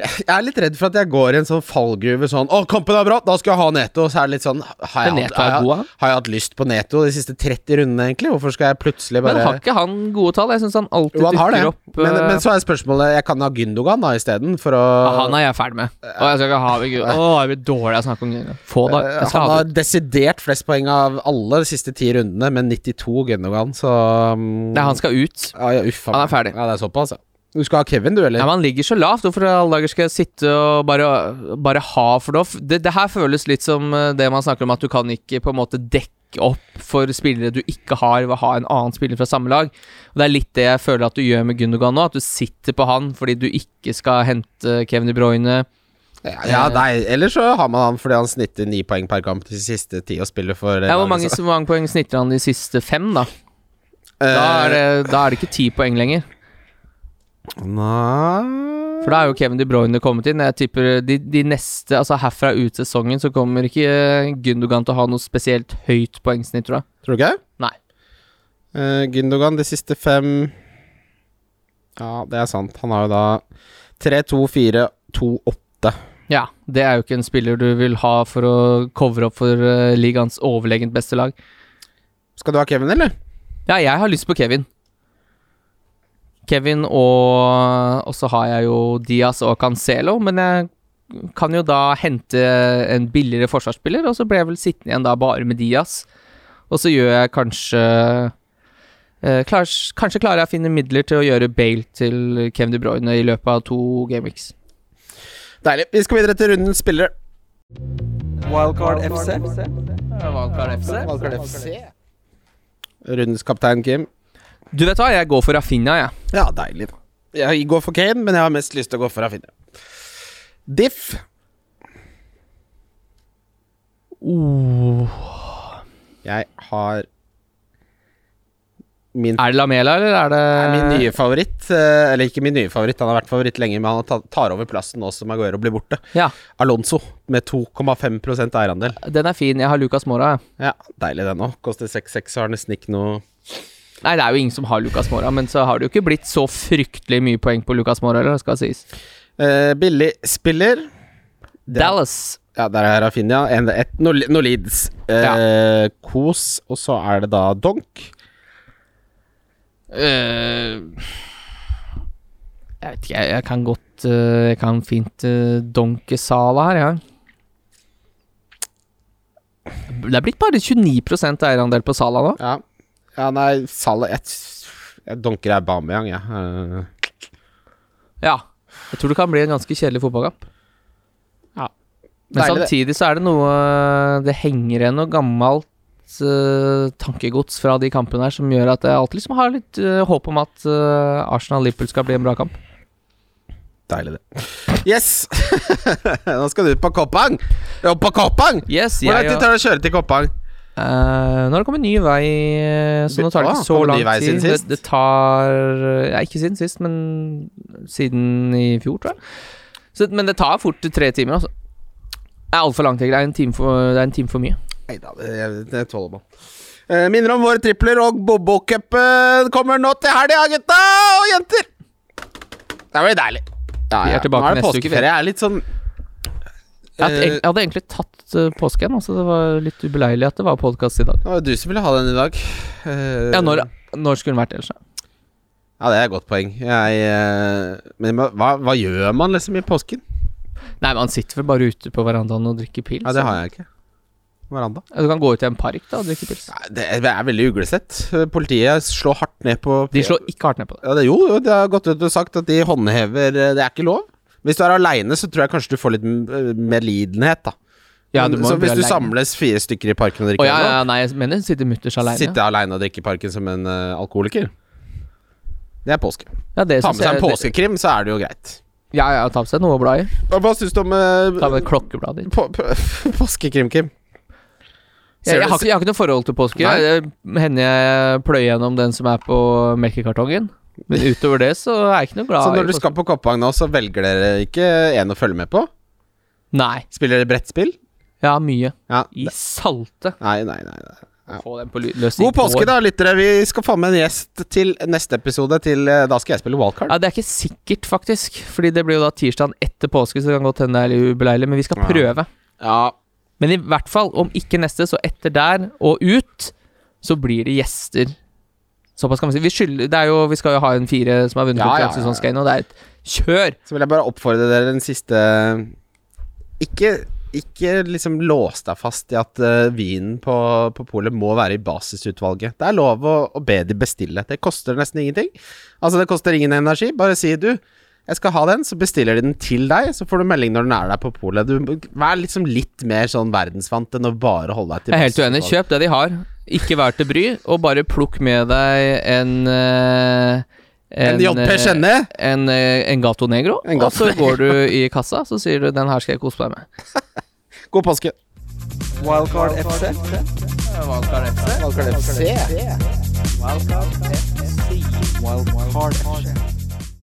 S1: jeg er litt redd for at jeg går i en sånn fallgruve sånn Å, kampen er bra, da skal jeg ha Neto. Så er det litt sånn Har jeg, hatt-
S2: Men Neto er
S1: har
S2: god,
S1: jeg,
S2: han.
S1: har jeg hatt lyst på Neto de siste 30 rundene, egentlig? Hvorfor skal jeg plutselig bare
S2: Men har ikke han gode tall? Jeg syns han alltid
S1: Jo, han har det,
S2: dukker opp.
S1: men,
S2: eh,
S1: men så er spørsmålet Jeg kan ha Gündogan da isteden, for å
S2: ja, han er jeg ferdig med. Å, jeg skal ikke ha Å, jeg blir dårlig av å snakke om Lingard. Få da.
S1: Eh,
S2: Jeg skal
S1: han
S2: ha
S1: har desidert flest poeng av alle de siste ti rundene, men 92 Gündogan, så mm,
S2: Nei, han skal ut.
S1: ja, ja, uff,
S2: Han er ferdig.
S1: Ja, det er såpass, ja. Du skal ha Kevin, du,
S2: Ja,
S1: eller?
S2: men han ligger så lavt. Hvorfor i alle dager skal jeg sitte og bare, bare ha for det? det? Det her føles litt som eh, det man snakker om, at du kan ikke på en måte dekke opp for spillere du ikke har, ved å ha en annen spiller fra samme lag. Og Det er litt det jeg føler at du gjør med Gundogan nå, at du sitter på han fordi du ikke skal hente Kevin De Bruyne.
S1: Ja, ja, nei, eller så har man han fordi han snitter ni poeng per kamp de siste ti og spiller for eh,
S2: Ja, hvor, mange, hvor mange poeng snitter han de siste fem, da? Da er det, da er det ikke ti poeng lenger.
S1: Eh, Nei
S2: For da er jo Kevin De Bruyne kommet inn. Jeg tipper de, de neste, altså herfra ut sesongen, så kommer ikke eh, Gundogan til å ha noe spesielt høyt poengsnitt, tror jeg.
S1: Tror du ikke?
S2: Nei.
S1: Eh, Gündogan de siste fem Ja, det er sant. Han har jo da 3-2-4-2-8.
S2: Ja, det er jo ikke en spiller du vil ha for å covre opp for uh, ligaens overlegent beste lag.
S1: Skal du ha Kevin, eller?
S2: Ja, jeg har lyst på Kevin. Kevin og Og så har jeg jo Diaz og Cancelo, men jeg kan jo da hente en billigere forsvarsspiller, og så blir jeg vel sittende igjen da bare med Diaz. Og så gjør jeg kanskje eh, klars- Kanskje klarer jeg å finne midler til å gjøre Bale til Kevin De Bruyne i løpet av to gameweeks.
S1: Deilig. Vi skal videre til rundens spillere.
S4: Wildcard FC.
S1: Rundens kaptein Kim.
S2: Du vet hva, jeg går for Rafinha, jeg.
S1: Ja, deilig, da. Jeg går for Kane, men jeg har mest lyst til å gå for Rafinha. Diff. Uh. Jeg har min
S2: Er det Lamela, eller er det
S1: er min nye favoritt. eh, Eller ikke min nye favoritt, han har vært favoritt lenge, men han ta- tar over plassen nå som Aguero blir borte.
S2: Ja,
S1: Alonso med 2,5 eierandel.
S2: den er fin. Jeg har Lucas Mora, jeg.
S1: Ja, deilig den òg. Koster 6,6, så har nesten ikke noe
S2: Nei, det er jo ingen som har Lucas Mora, men så har det jo ikke blitt så fryktelig mye poeng på Lucas Mora, eller det skal sies.
S1: eh, Billig spiller. Det-
S2: Dallas.
S1: Ja, der er Rafinha. En, et, no, no leads. Eh, Kos, og så er det da Donk.
S2: Eh, jeg vet ikke, jeg, jeg kan godt eh, Jeg kan fint uh, donke Sala her, jeg. Det er blitt bare 29 eierandel på Sala nå.
S1: Ja, ja nei, Salah Jeg, jeg donker Aubameyang, jeg. Eh, Ja.
S2: Ja. Jeg tror det kan bli en ganske kjedelig fotballkamp.
S1: Ja.
S2: Men
S1: Deilig, det.
S2: samtidig så er det noe Det henger igjen noe gammelt eh, tankegods fra de kampene her som gjør at jeg alltid liksom har litt eh, håp om at eh, Arsenal-Liverpool skal bli en bra kamp.
S1: deilig, det. Yes! Nå skal du på Koppang! Jo, på Koppang!
S2: Yes,
S1: Hvor lang
S2: jeg,
S1: tid tar det å kjøre til Koppang?
S2: Eh, nå har det kommet ny vei, eh, så nå tar det
S1: Å,
S2: ikke så
S1: kommer ny
S2: lang
S1: vei siden
S2: tid. Det,
S1: sist?
S2: det tar eh, ja, Ikke siden sist, men siden i fjor, tror jeg. Så, men det tar fort tre timer, altså. Det er altfor langt, egentlig. Det er en time for, det er en time for mye.
S1: Nei da, det, det tåler man. Eh, minner om våre tripler, og Bobo-cupen kommer nå til helga, gutta og jenter! Det blir deilig. Ja,
S2: Vi er tilbake
S1: nå er det
S2: neste uke, vi.
S1: påskeferie. Jeg er litt sånn
S2: Jeg hadde,
S1: Eh,
S2: jeg hadde egentlig tatt eh, påske igjen, altså. Det var litt ubeleilig at det var podkast i dag.
S1: Det var jo du som ville ha den i dag. Eh,
S2: Ja, når, når skulle den vært ellers? da?
S1: Ja, det er et godt poeng. Jeg, eh, men hva, hva gjør man liksom i påsken?
S2: Nei, man sitter vel bare ute på verandaen og drikker pils.
S1: Ja, det har jeg ikke. Veranda.
S2: Du kan gå ut i en park da og drikke pils.
S1: Nei, Det er- det er veldig uglesett. Eh, Politiet slår hardt ned på
S2: De slår ikke hardt ned på det.
S1: Ja, det, jo, jo, det har gått ut og sagt at de håndhever eh, Det er ikke lov. Hvis du er aleine, så tror jeg kanskje du får litt m- eh, medlidenhet, da.
S2: Ja,
S1: Men-
S2: du må
S1: så
S2: bli
S1: hvis du
S2: alene.
S1: samles fire stykker i parken og drikker
S2: Å ja, ja,
S1: alkohol,
S2: nei, jeg mener sitter mutters aleine.
S1: sitte aleine og drikke i parken som en eh, alkoholiker Det er påske.
S2: Ja, det
S1: Ta
S2: synes
S1: med seg en
S2: jeg- det-
S1: påskekrim, så er det jo greit.
S2: Ja, ja, ta med seg noe å bla i.
S1: Og Hva syns du om eh,
S2: Ta med klokkebladet ditt.
S1: på, på, påskekrim, Kim?
S2: Jeg, jeg, har
S1: Ser
S2: ikke, jeg har ikke noe forhold til påske.
S1: Nei.
S2: Jeg- jeg- Hender jeg pløyer gjennom den som er på melkekartongen. Men utover det så er jeg ikke noe glad
S1: Så når
S2: i
S1: du
S2: påske.
S1: skal på Koppang nå, så velger dere ikke en å følge med på?
S2: Nei.
S1: Spiller dere brettspill?
S2: Ja, mye.
S1: Ja.
S2: I salte.
S1: Nei, nei, nei. nei. Ja.
S2: Få den på lyd- løs i
S1: God påske,
S2: går.
S1: da, lyttere. Vi skal få med en gjest til neste episode. Til, eh, da skal jeg spille wildcard.
S2: Ja, Det er ikke sikkert, faktisk. Fordi det blir jo da tirsdagen etter påske, så det kan godt hende det er litt ubeleilig. Men vi skal
S1: Ja.
S2: prøve.
S1: Ja.
S2: Men i hvert fall, om ikke neste, så etter der og ut, så blir det gjester. Såpass kan vi si. Vi, skylder, det er jo, vi skal jo ha en fire som har vunnet
S1: Ja, ja,
S2: konkurransen
S1: ja,
S2: som
S1: ja.
S2: skal inn, og det er et kjør!
S1: Så vil jeg bare oppfordre dere en siste Ikke, ikke liksom lås deg fast i at eh, vinen på, på polet må være i basisutvalget. Det er lov å, å be de bestille. Det koster nesten ingenting. Altså, det koster ingen energi. Bare si du. Jeg skal ha den, så bestiller de den til deg. Så får du melding når den er der på polet. Du- Vær liksom litt mer sånn verdensvant enn å bare holde deg til
S2: Jeg er helt uenig.
S1: basisutvalget.
S2: Kjøp det de har. Ikke vær til bry, og bare plukk med deg en eh,
S1: En JP
S2: eh,
S1: Skjenne?
S2: En, eh, en Gato Negro,
S1: En
S2: og
S1: Gato
S2: så går du i kassa, så sier du 'den her skal jeg kose meg med'.
S1: God påske.
S4: Wildcard FC.
S1: Valgkart FC.
S4: Wildcard FC.